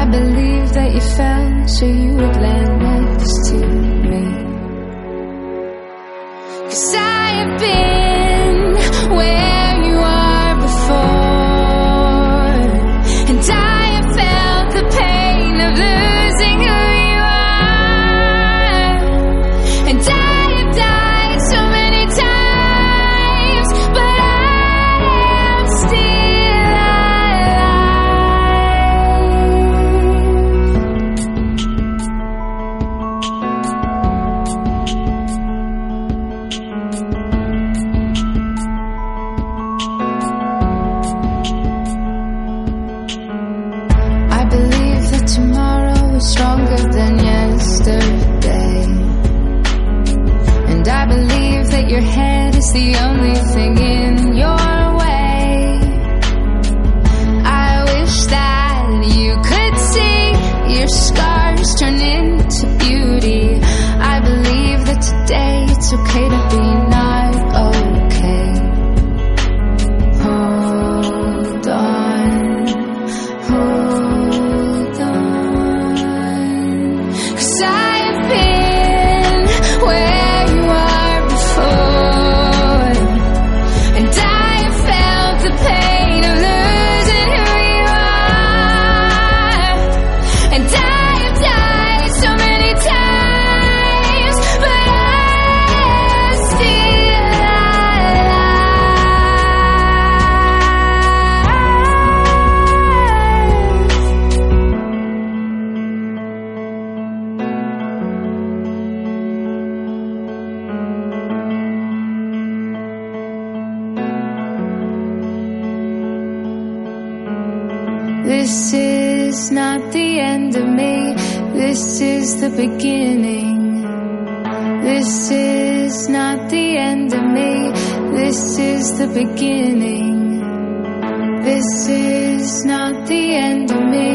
I believe that you fell so you would land next to me. Cause I have been where you are before. And I have felt the pain of losing who you are. And I have died so many times, but I am still alive. I believe that tomorrow is stronger than yesterday. And I believe that your head is the only thing in your way. I wish that you could see your scars turn into beauty. I believe that today it's okay to be not okay. Hold on. Hold on, 'cause I've been where you are before,
This is not the end of me. This is the beginning. This is not the end of me. This is the beginning. This is not the end of me.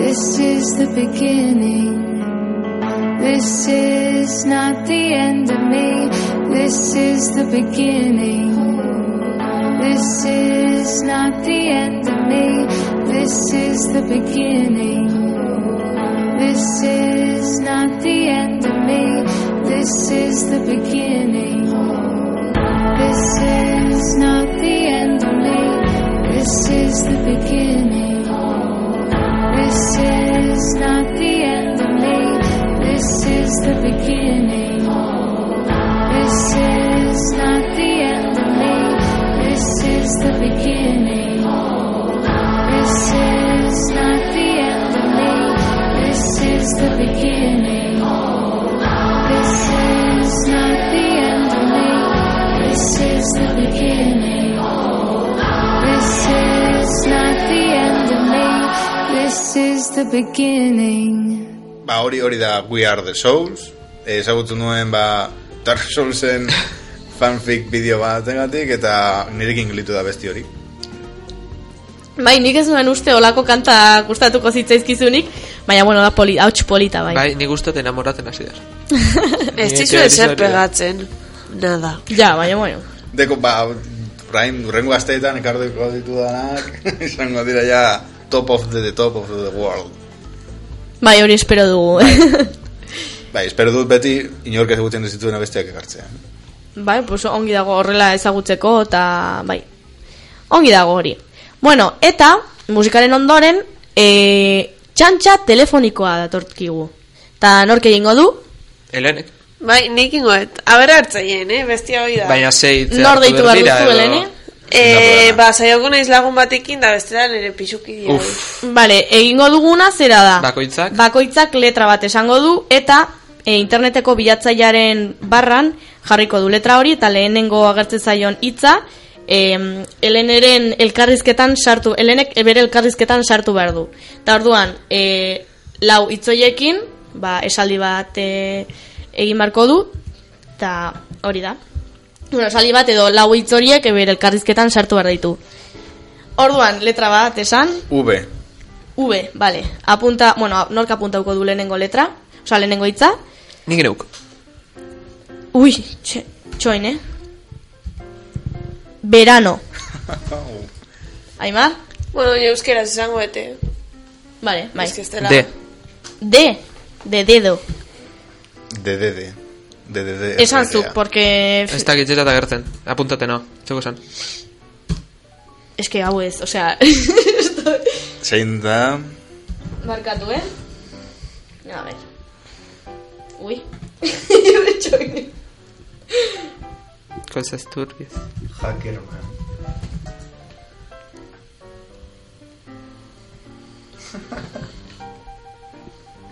This is the beginning. This is not the end of me. This is the beginning. This is not the end of me. This is the beginning. This is not the end of me. This is the beginning. This is not the end of me. This is the beginning. This is not the end of me. This is the beginning. This is not the end of me. This is the beginning. This is not the end of me. This is the beginning. This is not the end of me. This is the beginning. This is not the end of me. This is the beginning.
Ba, hori hori da We Are The Souls. Eh, Ezagutu nuen, ba, Dark Soulsen fanfic bideo bat engatik, eta nirekin gelitu da besti hori.
Bai, nik ez nuen uste olako kanta gustatuko zitzaizkizunik, baina bueno, da poli, hauts polita bai.
Bai, nik uste enamoraten hasi da.
Ez
Ni
dizu ezer
teorizatu dut.
pegatzen. Nada.
Ja, baina bueno.
Deko, ba, orain, urrengo asteetan ekarriko ditu danak, izango dira ja top of the, the top of the world.
Bai, hori espero dugu.
Bai, espero dut beti inork ezagutzen ez dituena besteak ekartzea.
Bai, pues ongi dago horrela ezagutzeko eta bai. Ongi dago hori. Bueno, eta musikaren ondoren, e, txantxa telefonikoa datorkigu. Ta nork egingo du?
Helenek.
Bai, nik ingoet. Aber hartzaien, eh? Bestia hoi da.
Baina zei hitz
Nor
hartu
deitu
behar
behar
dira, edo-
duzu, Helene?
E, ba, saioko naiz lagun batekin da bestela nire pixuki dira.
Uf,
Bale, egingo duguna zera da.
bakoitzak.
Bakoitzak letra bat esango du eta e, interneteko bilatzailearen barran jarriko du letra hori eta lehenengo agertzen zaion hitza em, Eleneren elkarrizketan sartu, Elenek bere elkarrizketan sartu behar du. Eta orduan, e, lau hitzoiekin, ba, esaldi bat e, egin beharko du, eta hori da. Bueno, esaldi bat edo lau hitz horiek e, bere elkarrizketan sartu behar ditu. Orduan, letra bat esan,
V.
V, vale. Apunta, bueno, nork apuntauko du lehenengo letra? Osa, lehenengo hitza?
Nik neuk.
Ui, txe, txoin, eh? Verano. Aimar?
Bueno, jo euskeraz esango ete.
Vale, bai.
Ez que estela.
D.
D, de dedo.
De, de, de. De, de, de.
Esan zuk, porque...
Ez da gitzeta eta gertzen. Apuntaten hau. Zuko esan.
Es que hau ez, osea...
Zein da...
Markatu, eh? A ver. Ui. Txoin.
Kolzaz turbiz.
Hackerman.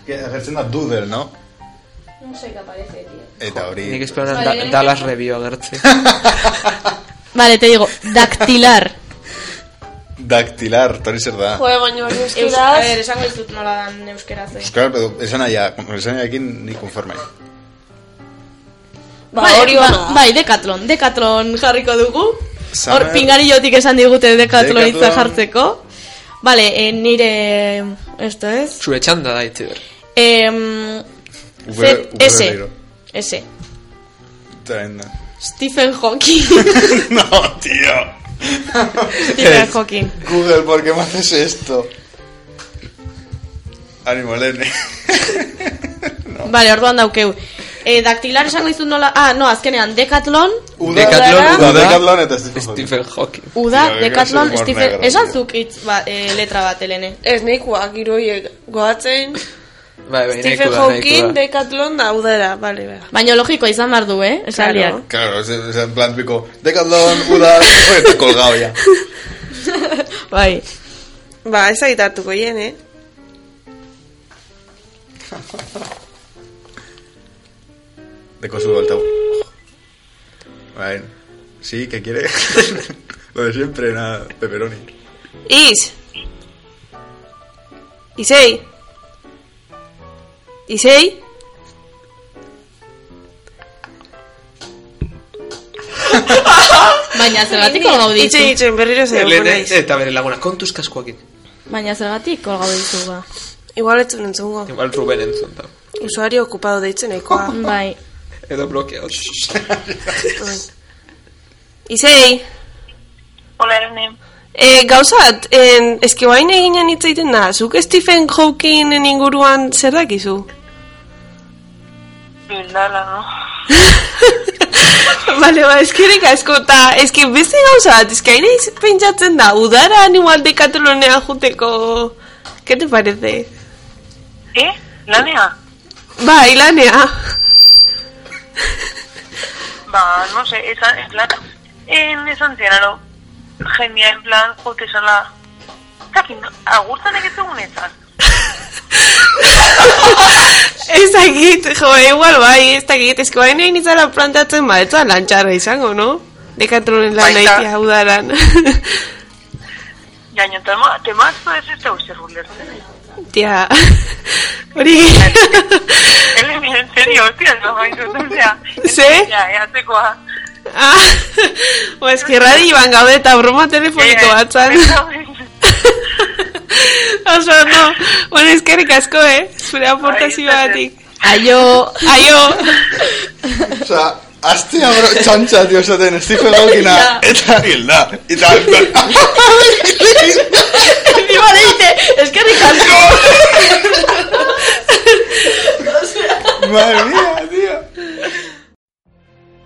Ke, Agertzen da dudel, no?
No sé qué aparece, tío.
Eta hori...
Nik esperan da,
Vale.
Dallas Review agertze.
Vale, te digo, dactilar.
Daktilar, tori zer da.
Joder, baina hori
Eus, a
euskeraz.
ver, esango dizut nola dan euskeraz. eh.
Claro, pero esan aia, esan aiakin ni konforme.
Ba,
Bai,
hori
ba-
ona.
Bai, dekatlon, dekatlon jarriko dugu. Hor,
Summer-
pingarillotik esan digute dekatlon
Decathlon.
hitza jartzeko. Vale, eh, nire... Esto es...
Zure txanda da itzi ber.
Em,
Ube-
Z-
ube
S.
berriro.
S.
Tren.
Stephen Hawking.
no, tío.
Stephen Hawking.
Google, ¿por qué me haces esto? Ánimo, Lene.
Vale, orduan daukeu. Eh, daktilar esango dizut nola... Ah, no, azkenean, dekatlon,
Decathlon,
uda,
uda,
Decathlon eta Stephen Hawking.
Stephen Hawking.
uda,
Tio, que
dekatlon,
grasa humor
Stephen...
negro,
Esan
tío.
zuk hitz ba, eh, letra bat, Elene.
Ez neikoa, giroiek goatzen.
Bai, bai, nahiko da,
Stephen
nahiko
Hawking,
da.
Decathlon da udara, bale, bera.
Baina logikoa izan behar du, eh? Esaldiak.
Claro, es, es en plan pico. Decathlon, uda, está colgado ya.
Bai.
Ba, ez agitartuko hien, eh?
De cosudo el tabú. Bueno, sí, ¿qué quiere? Lo de siempre, nada, pepperoni.
Iz, Isei. Isei.
Baina zergatik kolgau ditu?
Itxe, itxe, berriro zer.
Lehen, eta bere laguna, kontuz kaskoakin.
Baina zergatik kolgau ditu ba.
Igual ez zuen entzungo.
Igual Ruben entzun da.
Usuario okupado deitzen ekoa.
Bai.
Edo blokeat.
Isei.
Hola, Irene.
E, gauzat, en, eski guain eginen hitz egiten da, zuk Stephen Hawkingen inguruan zer dakizu?
Bildala, no?
Bale, ba, eskerrik asko, eta eski beste gauza bat, eski hain eiz pentsatzen da, udara animal de Katalonea juteko, ¿qué te parece?
Eh? Lanea?
Bai, lanea.
Ba, no sé, esan, en plan... En esan zian, alo, jendea, en plan, jote zala... Zakin, agurtan egitegun ezan.
Ez dakit, jo, igual bai, ez dakit, eski guain egin izala plantatzen, ba, ez da lantxarra izango, no? De Katalonea lan egitea udaran.
Jaino, tema, temazko ez ez da uzer ulertzen.
Tia, hori...
Ele, mi, en serio, hostia, no, baino, osea...
Ze?
Ja, eatekoa.
Ah, pues ba, eski radioan gaude eta broma telefoniko bat zan. Oso, no, bueno, eskerrik asko, eh? Zure aportazioatik.
Aio,
aio.
Osa, aztea bro, txantxa, tio, esaten, Stephen Hawkina,
Ja.
eta gilda, eta...
Encima le dice, es que Ricardo.
Madre mía, tío.